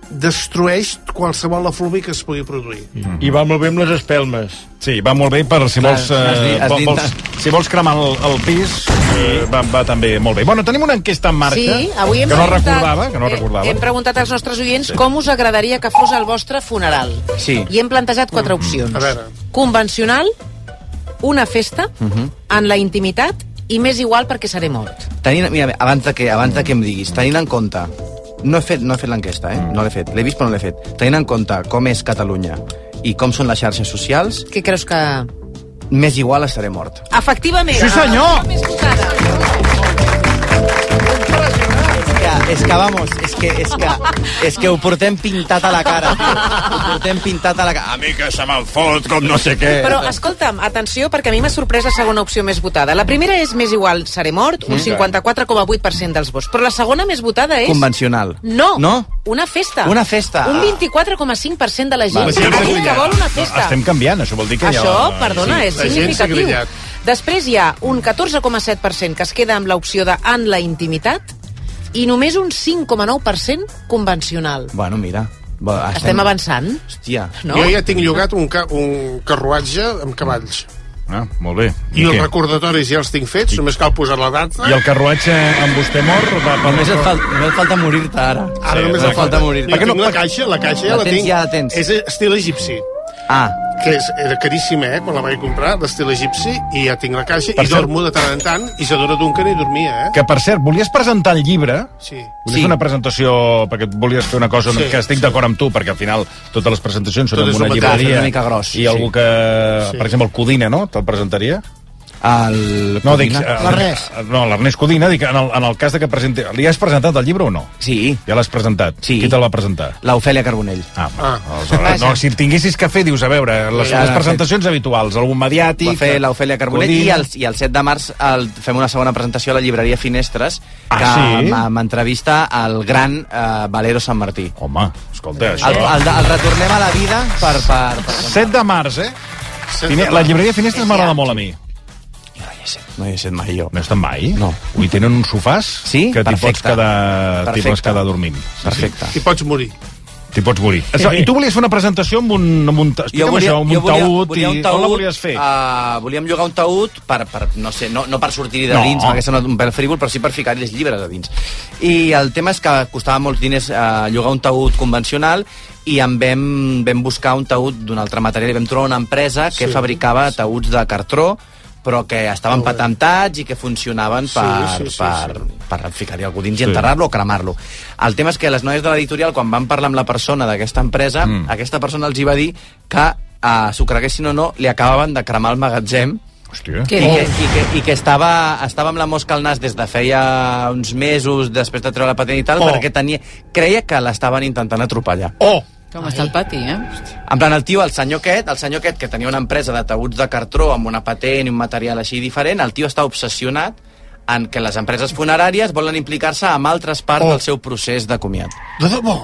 destrueix qualsevol efluvi que es pugui produir. I va molt bé amb les espelmes. Sí, va molt bé per si Clar, vols, has eh, dit- has vols, dit- vols, si vols cremar el, el pis, eh, va, va també molt bé. Bueno, tenim una enquesta en marxa Sí, avui que hem no preguntat- recordava, que no eh, recordava. Hem preguntat als nostres oients Sí. com us agradaria que fos el vostre funeral. Sí. Mm-hmm. I hem plantejat quatre opcions. A veure. Convencional, una festa, Mhm. en la intimitat i més igual perquè seré mort. Tenint, mira, abans de, que, abans de que em diguis, tenint en compte... No he fet, no he fet l'enquesta, eh? No l'he fet. L'he vist, però no l'he fet. Tenint en compte com és Catalunya i com són les xarxes socials, Què creus que... més igual estaré mort. Efectivament. Sí, senyor! Ah, més votada. Ja, és que, vamos, és que, és que, és que ho portem pintat a la cara. Ho portem pintat a la cara. A mi que se me'n fot com no sé Eh. què. Però, escolta'm, atenció, perquè a mi m'ha sorprès la segona opció més votada. La primera és més igual seré mort, un Mm. 54,8% dels vots. Però la segona més votada és... Convencional. No, No? una festa. Una festa. Un Ah. 24,5% de la gent Va, sí, ha dit sí. que vol una festa. Doncs Estem canviant, això vol dir que Això, ja... perdona, és significatiu. Després hi ha un 14,7% que es queda amb l'opció de en la intimitat i només un 5,9% convencional. Bueno, mira. Va, Estem avançant? Hòstia. No? No? Jo ja tinc llogat un, ca un carruatge amb cavalls. Ah, molt bé. I, I els què? recordatoris ja els tinc fets, només cal posar la data. I el carruatge amb vostè mort... Va, va, Només et, fal, només et falta morir-te ara. Ara sí, només em falta morir. Jo Per què tinc la caixa, la caixa ja la, tens, tinc. Ja la tens. És estil egipci. Ah. Que és, era caríssima, eh, quan la vaig comprar, l'estil egipci, i ja tinc la caixa, Per i cert- dormo de tant en tant, i s'adora d'un que ni dormia, eh? Que, per cert, volies presentar el llibre... Sí. Volies fer una presentació, perquè et volies fer una cosa Sí, que estic d'acord amb tu, perquè al final totes les presentacions són Tot és amb una un metall, llibreria. una mica gros, I algú que, per exemple, el Codina, no? Te'l presentaria? El No, Codina? dic, eh, L'Ernest. No, l'Ernest Codina, dic, en el, en el cas de que presenti... Li has presentat el llibre o no? Sí. Ja l'has presentat? Sí. Qui te'l va presentar? L'Ofèlia Carbonell. Ah, ah. Aleshores, no, si tinguessis que fer, dius, a veure, les, Ja, les ja, presentacions habituals, algun mediàtic... Va fer l'Ofèlia Carbonell i el, i el 7 de març el, fem una segona presentació a la llibreria Finestres Ah, que sí? m- m'entrevista el gran eh, Valero Sant Martí. Home, escolta, això... El, el, el retornem a la vida per... per, per 7 Ah, de març, eh? Fine, de la març. llibreria Finestres m'agrada molt a mi. No hi he estat mai jo. No he estat mai? No. Ui, tenen uns sofàs sí? que t'hi pots, Perfecte. quedar, t'hi pots Perfecte. quedar dormint. Perfecte. I pots morir. T'hi pots morir. Això, I tu volies fer una presentació amb un, amb un, ta- explica'm això, amb un taüt... volia un i... taüt, On la volies fer? Uh, volíem llogar un taüt per, per no sé, no, no per sortir de No. dins, perquè sembla un pèl frívol, però sí per ficar-hi els llibres a dins. I el tema és que costava molts diners uh, llogar un taüt convencional i en vam, vam buscar un taüt d'un altre material i vam trobar una empresa que Sí. fabricava taüts de cartró però que estaven patentats i que funcionaven per, sí, sí, sí. per, per ficar-hi algú dins i enterrar-lo o cremar-lo. El tema és que les noies de l'editorial, quan van parlar amb la persona d'aquesta empresa, mm. aquesta persona els hi va dir que, eh, s'ho creguessin o no, li acabaven de cremar el magatzem Hòstia. i, que, i, que, i que estava, estava amb la mosca al nas des de feia uns mesos després de treure la patent i tal, Oh. oh. perquè tenia, creia que l'estaven intentant atropellar. Oh! Com està el pati, eh? En plan, el tio, el senyor aquest, el senyor aquest que tenia una empresa de taüts de cartró amb una patent i un material així diferent, el tio està obsessionat en què les empreses funeràries volen implicar-se amb altres parts oh. del seu procés de comiat. De debò?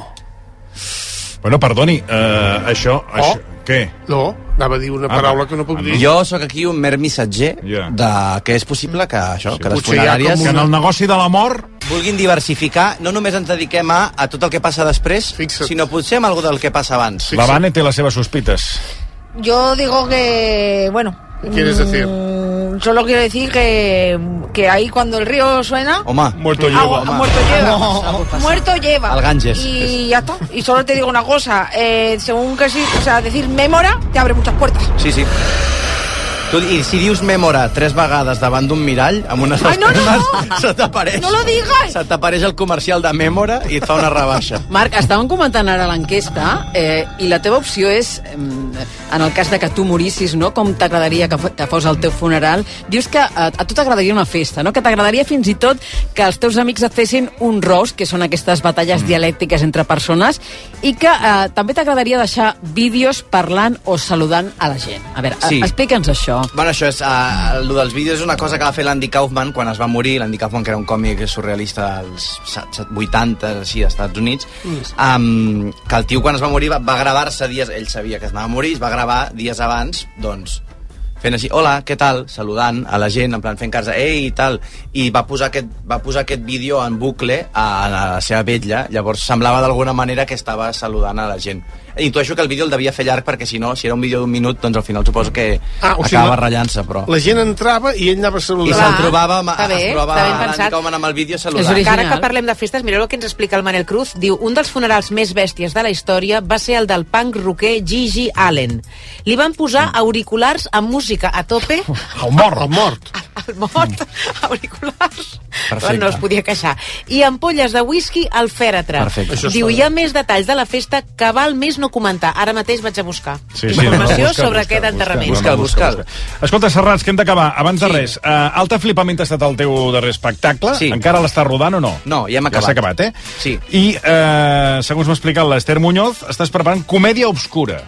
Bueno, perdoni, eh, això... Oh. això Què? No, anava a dir una Ah, paraula va. que no puc dir. Jo sóc aquí un mer missatger yeah. de que és possible que això, sí. que les Potser hi ha funeràries... com una- Que en el negoci de la mort... Vulguin diversificar, no només ens dediquem a, a tot el que passa després, Fixa't. sinó potser amb algú del que passa abans. La Vane té les seves sospites. Yo digo que, bueno, quieres decir? mm, solo quiero decir que, que ahí cuando el río suena, Home, Ah, Muerto lleva, Ah, home. muerto lleva. muerto lleva. Al Ganges. Y ya está. Y solo te digo una cosa, eh, según que sí, o sea, decir memora te abre muchas puertas. Sí, sí. Tu, I si dius memora tres vegades davant d'un mirall, amb unes Ai, no, no, espelmes, se t'apareix... No lo digas. Se t'apareix el comercial de memora i et fa una rebaixa. Marc, estàvem comentant ara l'enquesta eh, i la teva opció és, em, en el cas de que tu morissis, no? com t'agradaria que, fo- que fos el teu funeral, dius que a, a tu t'agradaria una festa, no? que t'agradaria fins i tot que els teus amics et fessin un roast, que són aquestes batalles mm. dialèctiques entre persones, i que eh, també t'agradaria deixar vídeos parlant o saludant a la gent. A veure, Sí. sí. explica'ns això. Bueno, això és... Uh, el dels vídeos és una cosa que va fer l'Andy Kaufman quan es va morir. L'Andy Kaufman, que era un còmic surrealista als set- set- 80, així, als Estats Units, um, que el tio quan es va morir va, va gravar-se dies... Ell sabia que es anava a morir, es va gravar dies abans, doncs, fent així, hola, què tal? Saludant a la gent, en plan fent casa, ei, i tal. I va posar aquest, va posar aquest vídeo en bucle a, a la seva vetlla, llavors semblava d'alguna manera que estava saludant a la gent. Intueixo que el vídeo el devia fer llarg perquè si no, si era un vídeo d'un minut, doncs al final suposo que Ah, ah, o o sigui, acabava la- ratllant-se, però... La gent entrava i ell anava a I saludar. se'l trobava, amb- Està bé, es trobava està ben l'Andy pensat. Kaufman amb el vídeo saludant. Encara que parlem de festes, mireu el que ens explica el Manel Cruz. Diu, un dels funerals més bèsties de la història va ser el del punk rocker Gigi Allen. Li van posar auriculars amb música a tope, El mort. El mort. al mort, auriculars, Perfecte. no es podia queixar, i ampolles de whisky al fèretre. Perfecte. Això Diu, està bé. hi ha més detalls de la festa que val més no comentar. Ara mateix vaig a buscar Sí, sí, informació no, busca, sobre busca, aquest enterrament. Busca, busca, busca. Escolta, Serrats, que hem d'acabar. Abans de res, uh, Alta Flipament ha estat el teu darrer espectacle. Sí. Encara l'està rodant o no? No, ja hem Ja acabat. s'ha acabat, eh? Sí. I, uh, segons m'ha explicat l'Ester Muñoz, estàs preparant Comèdia Obscura.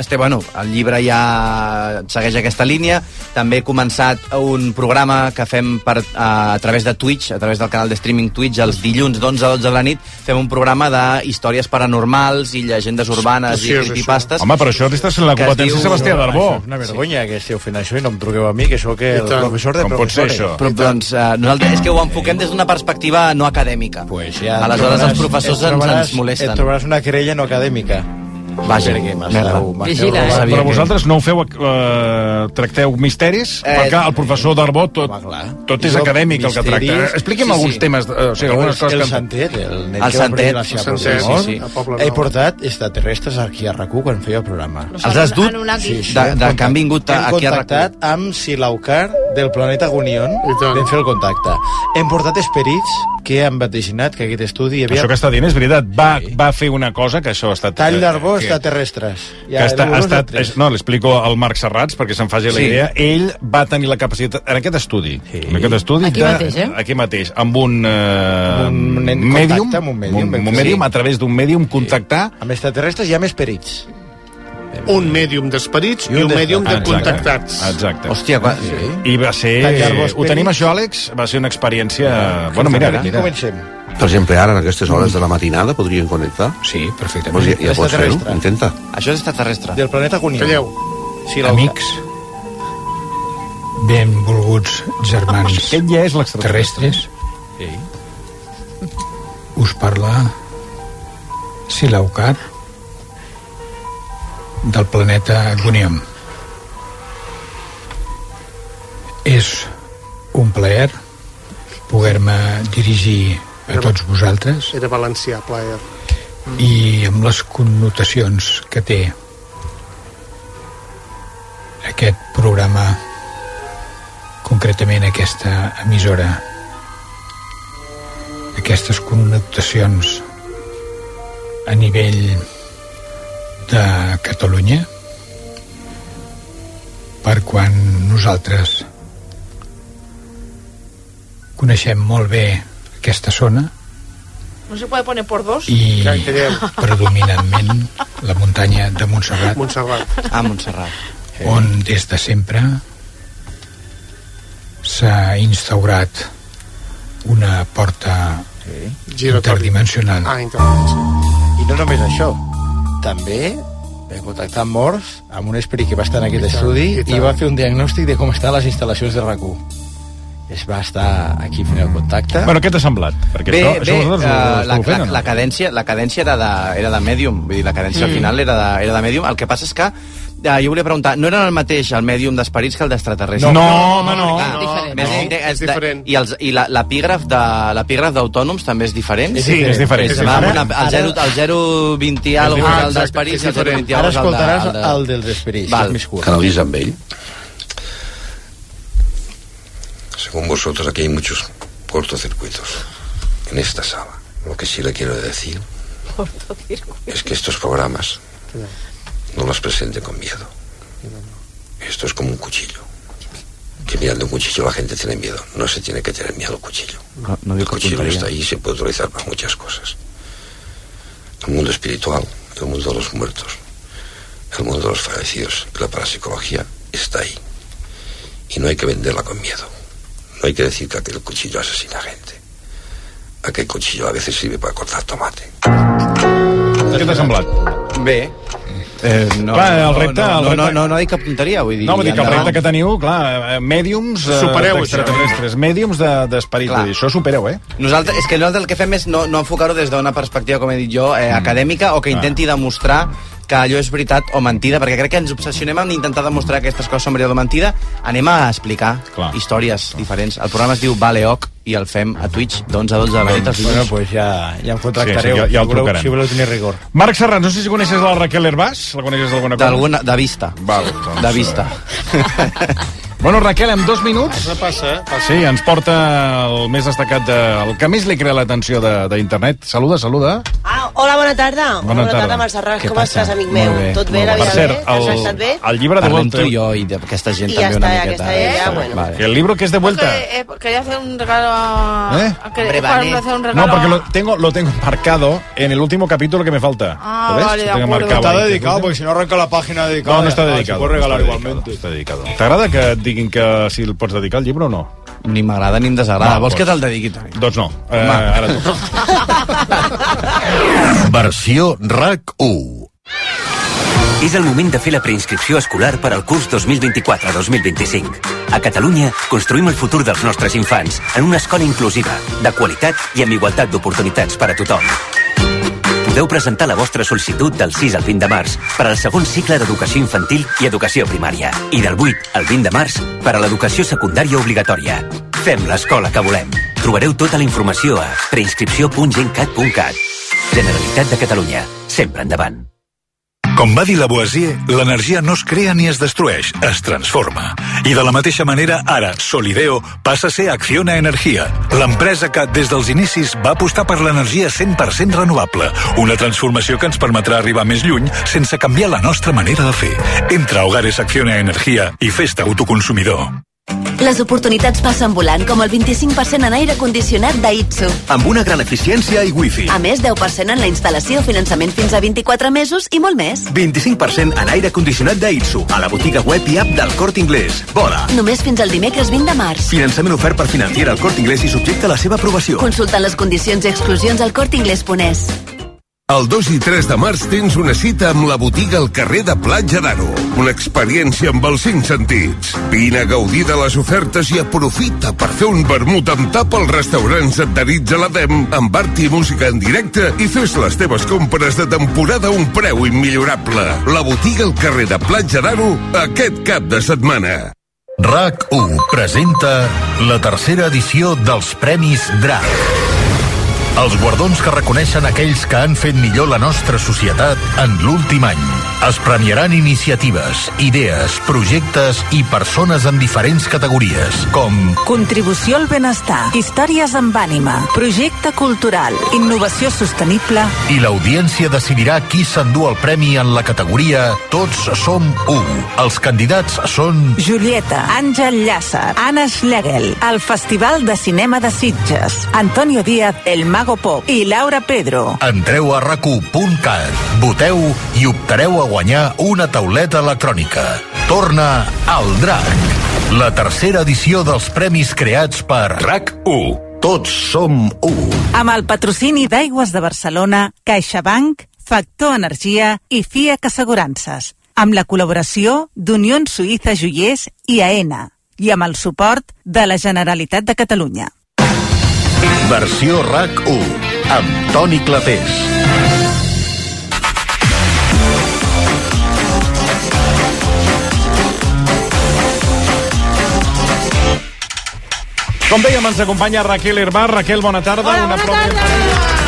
Este, bueno, el llibre ja segueix aquesta línia. També he començat un programa que fem per, a, a través de Twitch, a través del canal de streaming Twitch, els dilluns d'11 a 12 de la nit. Fem un programa de històries paranormals i llegendes urbanes i Preciós, això. creepypastes. Home, però això li estàs fent la Que es competència a Sebastià Darbó. Això és Una vergonya que esteu fent això i no em truqueu a mi, que sóc I el tant. professor de Com pot ser professores. això? Però, doncs, eh, nosaltres és que ho enfoquem des d'una perspectiva no acadèmica. Pues Ja, Aleshores, trobaràs- els professors et ens, trobaràs- ens molesten. Et trobaràs una querella no acadèmica. Vaja, Perquè m'esteu- merda. m'esteu Vigila, eh? robant. Però vosaltres no ho feu, eh, tracteu misteris, eh, Eh, perquè el professor Darbó tot, tot és Jo, acadèmic el que misteris- tracta. Expliqui'm Sí, sí. alguns temes, eh, o sigui, algunes El- coses el que... Santet, el El nen que va Santet, prendre la seva el Santet, pròpia mort, sí, sí. A Poble He Nou. portat extraterrestres aquí a RAC1 quan feia el programa. Els has dut? Sí, sí, De- de que hem han contactat- vingut a- hem aquí a contactat amb Silaucar del planeta Gunion. Vam fer el contacte. Hem portat esperits que han vaticinat que aquest estudi hi havia... Això que està dient és veritat. Va, va fer una cosa que això ha estat... eh, Tall d'arbó que- extraterrestres. que està, ha el número estat, tres. és, no, l'explico al Marc Serrats perquè se'n faci la Sí. idea, ell va tenir la capacitat en aquest estudi, sí. en aquest estudi Aquí mateix, eh? aquí mateix, amb un, eh, Un nen contacte medium, amb un medium, un, vam un fer. medium a través d'un medium contactar Amb extraterrestres hi ha més perits. Un mèdium d'esperits i un mèdium de contactats. Exacte. Hòstia, va, sí. I va ser... Tallar-vos Ho tenim això, Àlex? Va ser una experiència... Bueno, mira, Mira. mira. Comencem. Per exemple, ara, en aquestes hores de la matinada, podrien connectar? Sí, perfectament. Pues ja, ja pots fer-ho, Extraterrestre. intenta. Això és extraterrestre. Del planeta Gunion. Calleu. Sí, Amics. Benvolguts germans Aquest ja Ah, és terrestres. Sí. Us parla Silaucar del planeta Gunium. És un plaer poder-me dirigir a tots vosaltres Era valencià, plaer. i amb les connotacions que té aquest programa concretament aquesta emissora aquestes connotacions a nivell de Catalunya per quan nosaltres coneixem molt bé aquesta zona No se puede poner por dos. i predominantment la muntanya de Montserrat, Eh, Montserrat. Ah, Montserrat. on des de sempre s'ha instaurat una porta interdimensional. Ah, interdimensional. I no només això, també vam contactar amb Morts, amb un esperit que va estar en aquest I tant, estudi, i tant. i va fer un diagnòstic de com estan les instal·lacions de RAC1. Es va estar aquí fent el contacte. Bueno, què t'ha semblat? Perquè Bé, això, bé, això vosaltres ho- eh, ho la, esteu la, fent, o no? la, cadència, la cadència era de, era de Medium, vull dir, la cadència Mm. al final era de, era de Medium. El que passa és que, eh, jo volia preguntar, no era el mateix el Medium d'esperits que el d'extraterrestres? no, Més no, és diferent. I, els, i la- l'epígraf de l'epígraf d'autònoms també és diferent? Sí, és diferent. És, va, amb una, Ara- el, 0, el 020 ah, algo és el d'esperits, i el 020 Ara algo és el de... escoltaràs El de... el dels esperits, Val. que és més curt. Canaliza amb ell. Según vosotros, aquí hay muchos cortocircuitos en esta sala. Lo que sí le quiero decir es que estos programas no los presenten con miedo. Esto es como un cuchillo. Que mirando un cuchillo la gente tiene miedo. No se tiene que tener miedo al cuchillo. No, no El dic que cuchillo contaria. está ahí y se puede utilizar para muchas cosas. El mundo espiritual, el mundo de los muertos, el mundo de los fallecidos, la parapsicología está ahí. Y no hay que venderla con miedo. No hay que decir que aquel cuchillo asesina gente. Aquel cuchillo a veces sirve para cortar tomate. Què t'ha semblat? Bé. Eh, no, Clar, el repte- no, el no, repte- no, no, no, no dic cap tonteria, vull dir... No, vull dir que el endavant. repte que teniu, clar, eh, mèdiums... eh, Supereu això. extraterrestres, Mèdiums de- d'esperit, Clar. vull dir, això supereu, eh? Nosaltres, és que nosaltres el que fem és no, no enfocar-ho des d'una perspectiva, com he dit jo, Mm. eh, acadèmica, o que intenti demostrar que allò és veritat o mentida, perquè crec que ens obsessionem en intentar demostrar que aquestes coses són veritat o mentida, anem a explicar Clar. històries Clar. diferents. El programa es diu Valeoc i el fem a Twitch d'11 a 12 de la nit. els dilluns. Doncs, Bueno, pues ja, ja em Sí, contractareu, sí, ja- ja el si, voleu, trucaran. si voleu tenir rigor. Marc Serrans, no sé si coneixes la Raquel Herbàs, la coneixes d'alguna cosa? D'alguna- de vista. Val, doncs, De vista. bueno, Raquel, en dos minuts... Passa, passa, passa. Sí, ens porta el més destacat, de, el que més li crea l'atenció de- d'internet. Saluda, saluda. Ah, hola, bona tarda. Bona Bona, bona tarda, tarda, tarda Montserrat. Què Com passa? estàs, amic Molt meu? bé, Tot bé, molt la bé. vida Per cert, bé? T'has el- estat bé? el llibre de Parlem Walter. tu i jo i d'aquesta gent I ja també una està, ja miqueta. està, ja, ja, bueno. El libro que es de vuelta. Eh, quería hacer un regalo a... ¿Eh? a que- Juan, hacer un regalo No, porque a- lo tengo, lo tengo marcado en el último capítulo que me falta. Ah, ¿Lo ves? vale, de Lo tengo acuerdo. marcado Está ahí. dedicado, porque si no arranca la página dedicada. No, no está Ah, se dedicado. puede regalar no está dedicado, igualmente. Está dedicado. T'agrada que et diguin que si el pots dedicar el llibre o no? Ni m'agrada ni em desagrada. Vols que te'l dediqui? Doncs no. Eh, Home. ara tu. Versió RAC1. És el moment de fer la preinscripció escolar per al curs 2024-2025. A Catalunya construïm el futur dels nostres infants en una escola inclusiva, de qualitat i amb igualtat d'oportunitats per a tothom. Podeu presentar la vostra sol·licitud del 6 al 20 de març per al segon cicle d'educació infantil i educació primària i del 8 al 20 de març per a l'educació secundària obligatòria. Fem l'escola que volem. Trobareu tota la informació a preinscripció.gencat.cat. Generalitat de Catalunya. Sempre endavant. Com va dir Lavoisier, l'energia no es crea ni es destrueix, es transforma. I de la mateixa manera, ara, Solideo passa a ser Acciona Energia, l'empresa que, des dels inicis, va apostar per l'energia 100% renovable, una transformació que ens permetrà arribar més lluny sense canviar la nostra manera de fer. Entra a Hogares Acciona Energia i festa autoconsumidor. Les oportunitats passen volant, com el 25% en aire condicionat d'Aitsu. Amb una gran eficiència i wifi. A més, 10% en la instal·lació, finançament fins a 24 mesos i molt més. 25% en aire condicionat d'Aitsu, a la botiga web i app del Cort Inglés. Vola! Només fins al dimecres 20 de març. Finançament ofert per financiar el Cort Inglés i subjecte a la seva aprovació. Consulta les condicions i exclusions al Cort Inglés Ponès. El 2 i 3 de març tens una cita amb la botiga al carrer de Platja d'Aro. Una experiència amb els cinc sentits. Vine a gaudir de les ofertes i aprofita per fer un vermut amb tap als restaurants adherits a l'ADEM, amb art i música en directe i fes les teves compres de temporada a un preu immillorable. La botiga al carrer de Platja d'Aro aquest cap de setmana. RAC1 presenta la tercera edició dels Premis DRAC. Els guardons que reconeixen aquells que han fet millor la nostra societat en l'últim any. Es premiaran iniciatives, idees, projectes i persones en diferents categories, com Contribució al benestar, històries amb ànima, projecte cultural, innovació sostenible... i l'audiència decidirà qui s'endú el premi en la categoria Tots som u. Els candidats són Julieta, Àngel Llàcer, Anna Schlegel, el Festival de Cinema de Sitges, Antonio Díaz, El Mago Pop i Laura Pedro. Entreu a racu.cat, voteu i optareu a guanyar una tauleta electrònica. Torna al DRAC, la tercera edició dels premis creats per RAC1. Tots som un. Amb el patrocini d'Aigües de Barcelona, CaixaBank, Factor Energia i FIAC Assegurances. Amb la col·laboració d'Unió Suïssa Joiers i AENA. I amb el suport de la Generalitat de Catalunya. Versió RAC 1 amb Toni Clapés. Com dèiem, ens acompanya Raquel Herbar. Raquel, bona tarda. Hola, una bona tarda.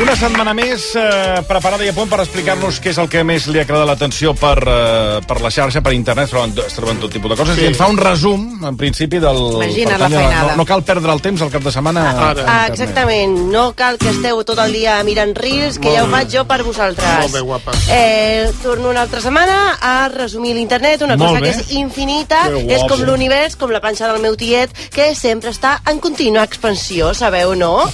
Una setmana més eh, preparada i a punt per explicar-nos què és el que més li ha cridat l'atenció per, eh, per la xarxa, per internet, es troben, es troben tot tipus de coses, Sí. sí. i ens fa un resum, en principi, del... Imagina't per la tant, ja feinada. no, no cal perdre el temps el cap de setmana. a Ah, internet. exactament, no cal que esteu tot el dia mirant reels, que Molt ja ho bé. faig jo per vosaltres. Molt bé, guapa. Eh, torno una altra setmana a resumir l'internet, una Molt cosa que bé. és infinita, Que guapo. és com l'univers, com la panxa del meu tiet, que sempre està en contínua expansió, sabeu, no?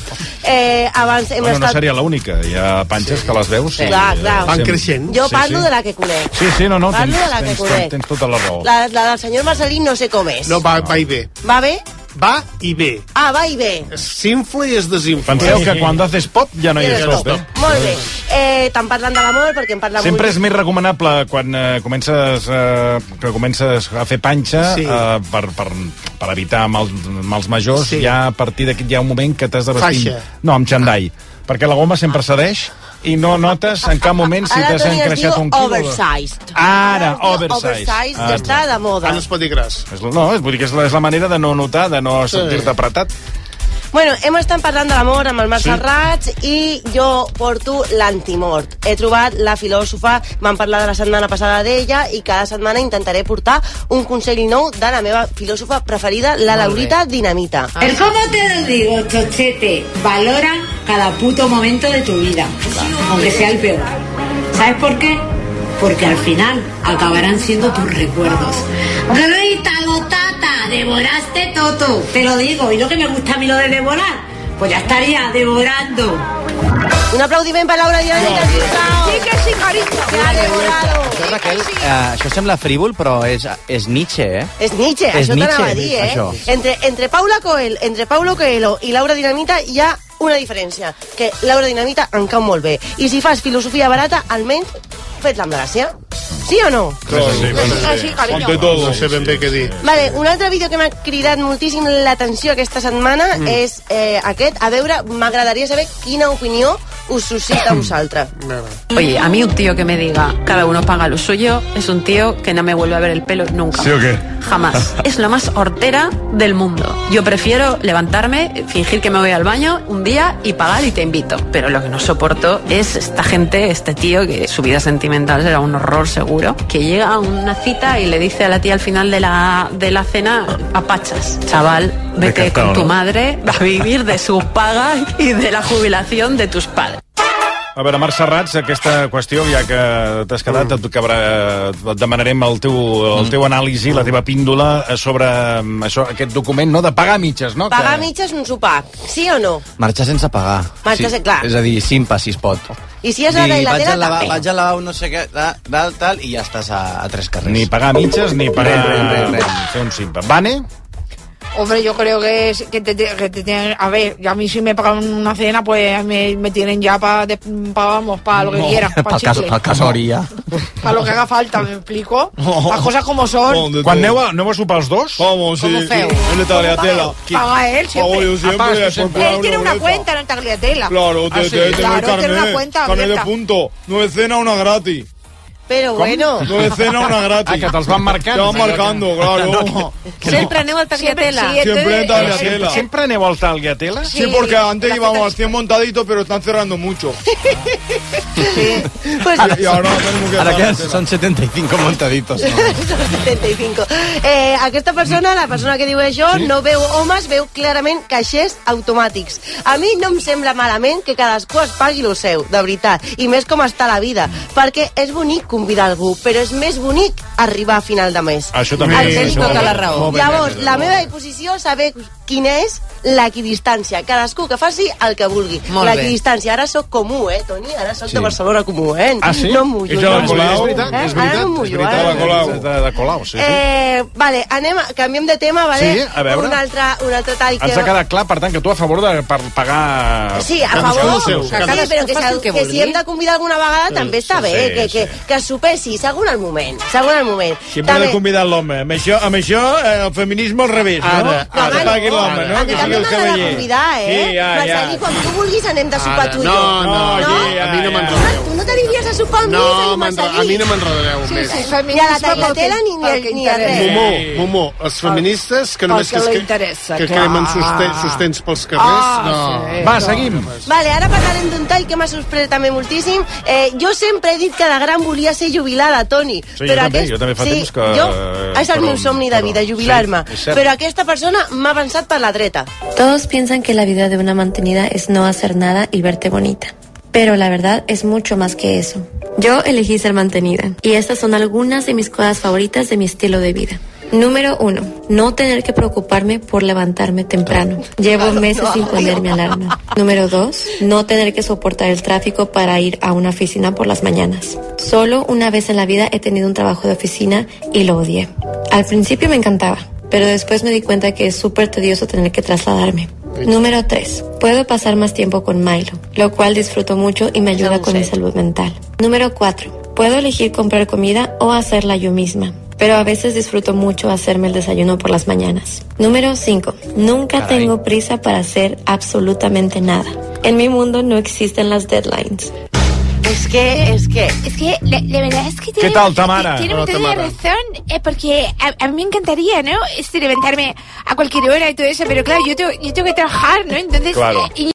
Eh, abans hem Bueno, no estat... seria l'única. Hi ha panxes sí. que les veus... i, Clar, eh, clar. sempre- Jo parlo de la que conec. Sí, sí, no, no, Parlo tens, de la que tens, conec. tens, tens tota la raó. La, la del senyor Marcelí no sé com és. No, va, va i ve. Va bé? Va i ve. Ah, va i ve. S'infla i es desinfla. Penseu que quan haces pop ja no hi és Eres pop, eh? Molt bé. Eh, Te'n parlen de l'amor, perquè en parla Sempre és molt... més recomanable quan eh, comences, eh, que comences a fer panxa Sí. eh, per, per, per evitar mals, mals majors. Sí. Sí. Ja a partir d'aquí hi ha un moment que t'has de vestir... Faixa. No, amb xandall. Perquè la goma sempre cedeix i no notes en cap moment si Ara t'has Toni es diu engreixat un quilo. de- oversized. Ara, es diu oversized. Oversized, Ah, ja està de moda. Ara es pot dir gras. És la- No, és, vull dir que és la, és la manera de no notar, de no Sí. sentir-te apretat. Bueno, hem estat parlant de l'amor amb el Marc Sí. sí. Serrats i jo porto l'antimort. He trobat la filòsofa, vam parlar de la setmana passada d'ella i cada setmana intentaré portar un consell nou de la meva filòsofa preferida, la Laurita Dinamita. El cómo te lo digo, chochete. Valora cada puto momento de tu vida, aunque sea el peor. ¿Sabes por qué? Porque al final acabarán siendo tus recuerdos. Grita, gotata, devoraste todo. Te lo digo, y lo que me gusta a mí lo de devorar, pues ya estaría devorando. Un aplaudiment per Laura Dinamita, sisplau. Sí que sí, cariño. Que ha devorado. Això, Raquel, eh, això sembla frívol, però és, és Nietzsche, eh? És Nietzsche, És això Nietzsche, t'anava a dir, eh? això. Entre, entre Paula Coel, entre Paulo Coelho i Laura Dinamita hi ha una diferència, que Laura Dinamita em cau molt bé. I si fas filosofia barata, almenys fet-la amb gràcia. Sí o no? Sí, Ah, sí, carinyo. Con de todo. No sé ben bé què dir. Vale, un altre vídeo que m'ha cridat moltíssim l'atenció aquesta setmana mm. és eh, aquest. A veure, m'agradaria saber quina opinió us suscita a vosaltres. Oye, a mí un tío que me diga, cada uno paga lo suyo, es un tío que no me vuelve a ver el pelo nunca. ¿Sí o qué? Jamás. Es lo más hortera del mundo. Yo prefiero levantarme, fingir que me voy al baño un día y pagar y te invito. Pero lo que no soporto es esta gente, este tío, que su vida sentimental será un horror seguro, que llega a una cita y le dice a la tía al final de la, de la cena, apachas, chaval, vete Descartado, con tu ¿no? madre a vivir de sus pagas y de la jubilación de tus padres. A veure, Marc Serrats, aquesta qüestió, ja que t'has Mm. quedat, et, tocarà, et demanarem el teu, el teu anàlisi, la teva píndola eh, sobre mm, això, aquest document no de pagar a mitges, no? Pagar a mitges un sopar, sí o no? Marxar sense pagar. Marxar sense- clar. És a dir, simpa, si es pot. I si és la Dir, de la vaig tela, al lavabo, també. vaig al lavabo, no sé què, tal, tal, tal, i ja estàs a, a tres carrers. Ni pagar a mitges, ni pagar... Res, res, res, res. Fer un simpa. Vane? Hombre, yo creo que, es, que, te, te- que te tienen... A ver, a mí si me pagan una cena, pues me, me tienen ya para, vamos, para lo que quieran. Para Pel, cas, pel casori, ja. Para lo que haga falta, ¿me explico? Oh. Las cosas como son. Quan aneu a, aneu a sopar els dos? Vamos, sí, ¿Cómo feo? sí. Una tagliatella. Paga él siempre. Pago yo siempre, Apagas tú después siempre. pago Él tiene la una boleta. cuenta en el Tagliatella. Claro, Ah, te, sí, te, te claro, él carnet, tiene una cuenta carnet de abierta. punto. Nueve cena, una gratis. Pero bueno. Nueve cena, una gratis. Ah, que te'ls van marcant. Te van marcando, claro. Siempre aneo al tagliatella. Siempre en Sempre, tagliatella. sempre aneu al Tagliatella? Sí, porque antes íbamos al 100 montaditos, pero están cerrando mucho. Pues, Y ahora tenemos que Ara estar que en són 75 montaditos. No? 75. Eh, aquesta persona, la persona que diu això, sí? no veu homes, veu clarament caixers automàtics. A mi no em sembla malament que cadascú es pagui lo seu, de veritat, i més com està la vida, perquè és bonic convidar algú, però és més bonic arribar a final de mes. Això també- El Toni això tota també- la raó. molt ben, Llavors, ben, la ben. meva posició és saber quina és l'equidistància. Cadascú que faci el que vulgui. Molt bé. L'equidistància. Ara sóc comú, eh, Toni? Ara sóc de Barcelona comú, eh? Ah, sí? No em mullo. Ets no de em la mullo. Colau? Eh? És Ara veritat, no em és mullo, veritat, ara de no la em mullo. Colau. De, de Colau, sí, sí. Eh, vale, anem, a, canviem de tema, vale? Sí, a veure. Un altre, un altre tall que... Ens ha quedat clar, per tant, que tu a favor de per pagar... Sí, a Cadascú favor, el seu. sí, però que, faci el que, que si hem de convidar alguna vegada Sí, també està sí, bé, eh, sí, que, que, que supessi, segon el moment, segon el moment. Sempre ha de convidar l'home. Amb això, amb això eh, el feminisme al revés, no? Ara, Que ara. pagui l'home, no? A mi Que també sigui el m'ha de cavaller. convidar, eh? Sí, ja, ja. Marcelí, quan tu vulguis anem de sopar Ara, tu i no, jo. no, aquí, a mi no m'enredeu. Tu no t'aniries a sopar amb No, mi, senyor m'enre- Marcelí. a mi no m'enredareu Sí, més. sí, ni a la tagliatela ni, ni, ni, ni a res. Momo, Momo, els feministes que Pel només que que, es li cre- interessa, que clar. cremen susten, sustents pels carrers, Ah, no. sí, Va, no. seguim. Vale, ara parlarem d'un tall que m'ha sorprès també moltíssim. Eh, jo sempre he dit que de gran volia ser jubilada, Toni. Sí, jo també, jo també fa sí, temps que- Jo, és el però- meu somni de vida, jubilar-me. sí, és cert. però aquesta persona m'ha avançat per la dreta. Todos piensan que la vida de una mantenida es no hacer nada y verte bonita. Pero la verdad es mucho más que eso. Yo elegí ser mantenida. Y estas son algunas de mis cosas favoritas de mi estilo de vida. Número uno, no tener que preocuparme por levantarme temprano. Llevo meses sin poner mi alarma. Número dos, no tener que soportar el tráfico para ir a una oficina por las mañanas. Solo una vez en la vida he tenido un trabajo de oficina y lo odié. Al principio me encantaba, pero después me di cuenta que es súper tedioso tener que trasladarme. Número 3. Puedo pasar más tiempo con Milo, lo cual disfruto mucho y me ayuda con mi salud mental. Número 4. Puedo elegir comprar comida o hacerla yo misma, pero a veces disfruto mucho hacerme el desayuno por las mañanas. Número 5. Nunca Caray. tengo prisa para hacer absolutamente nada. En mi mundo no existen las deadlines. Es que, es que... Es que la, la verdad es que ¿Qué tiene, tal, Tamara? tiene Hola, usted Tamara. razón, eh, porque a, a mí me encantaría, ¿no? Este, levantarme a cualquier hora y todo eso, pero claro, yo tengo, yo tengo que trabajar, ¿no? Entonces, Claro. y-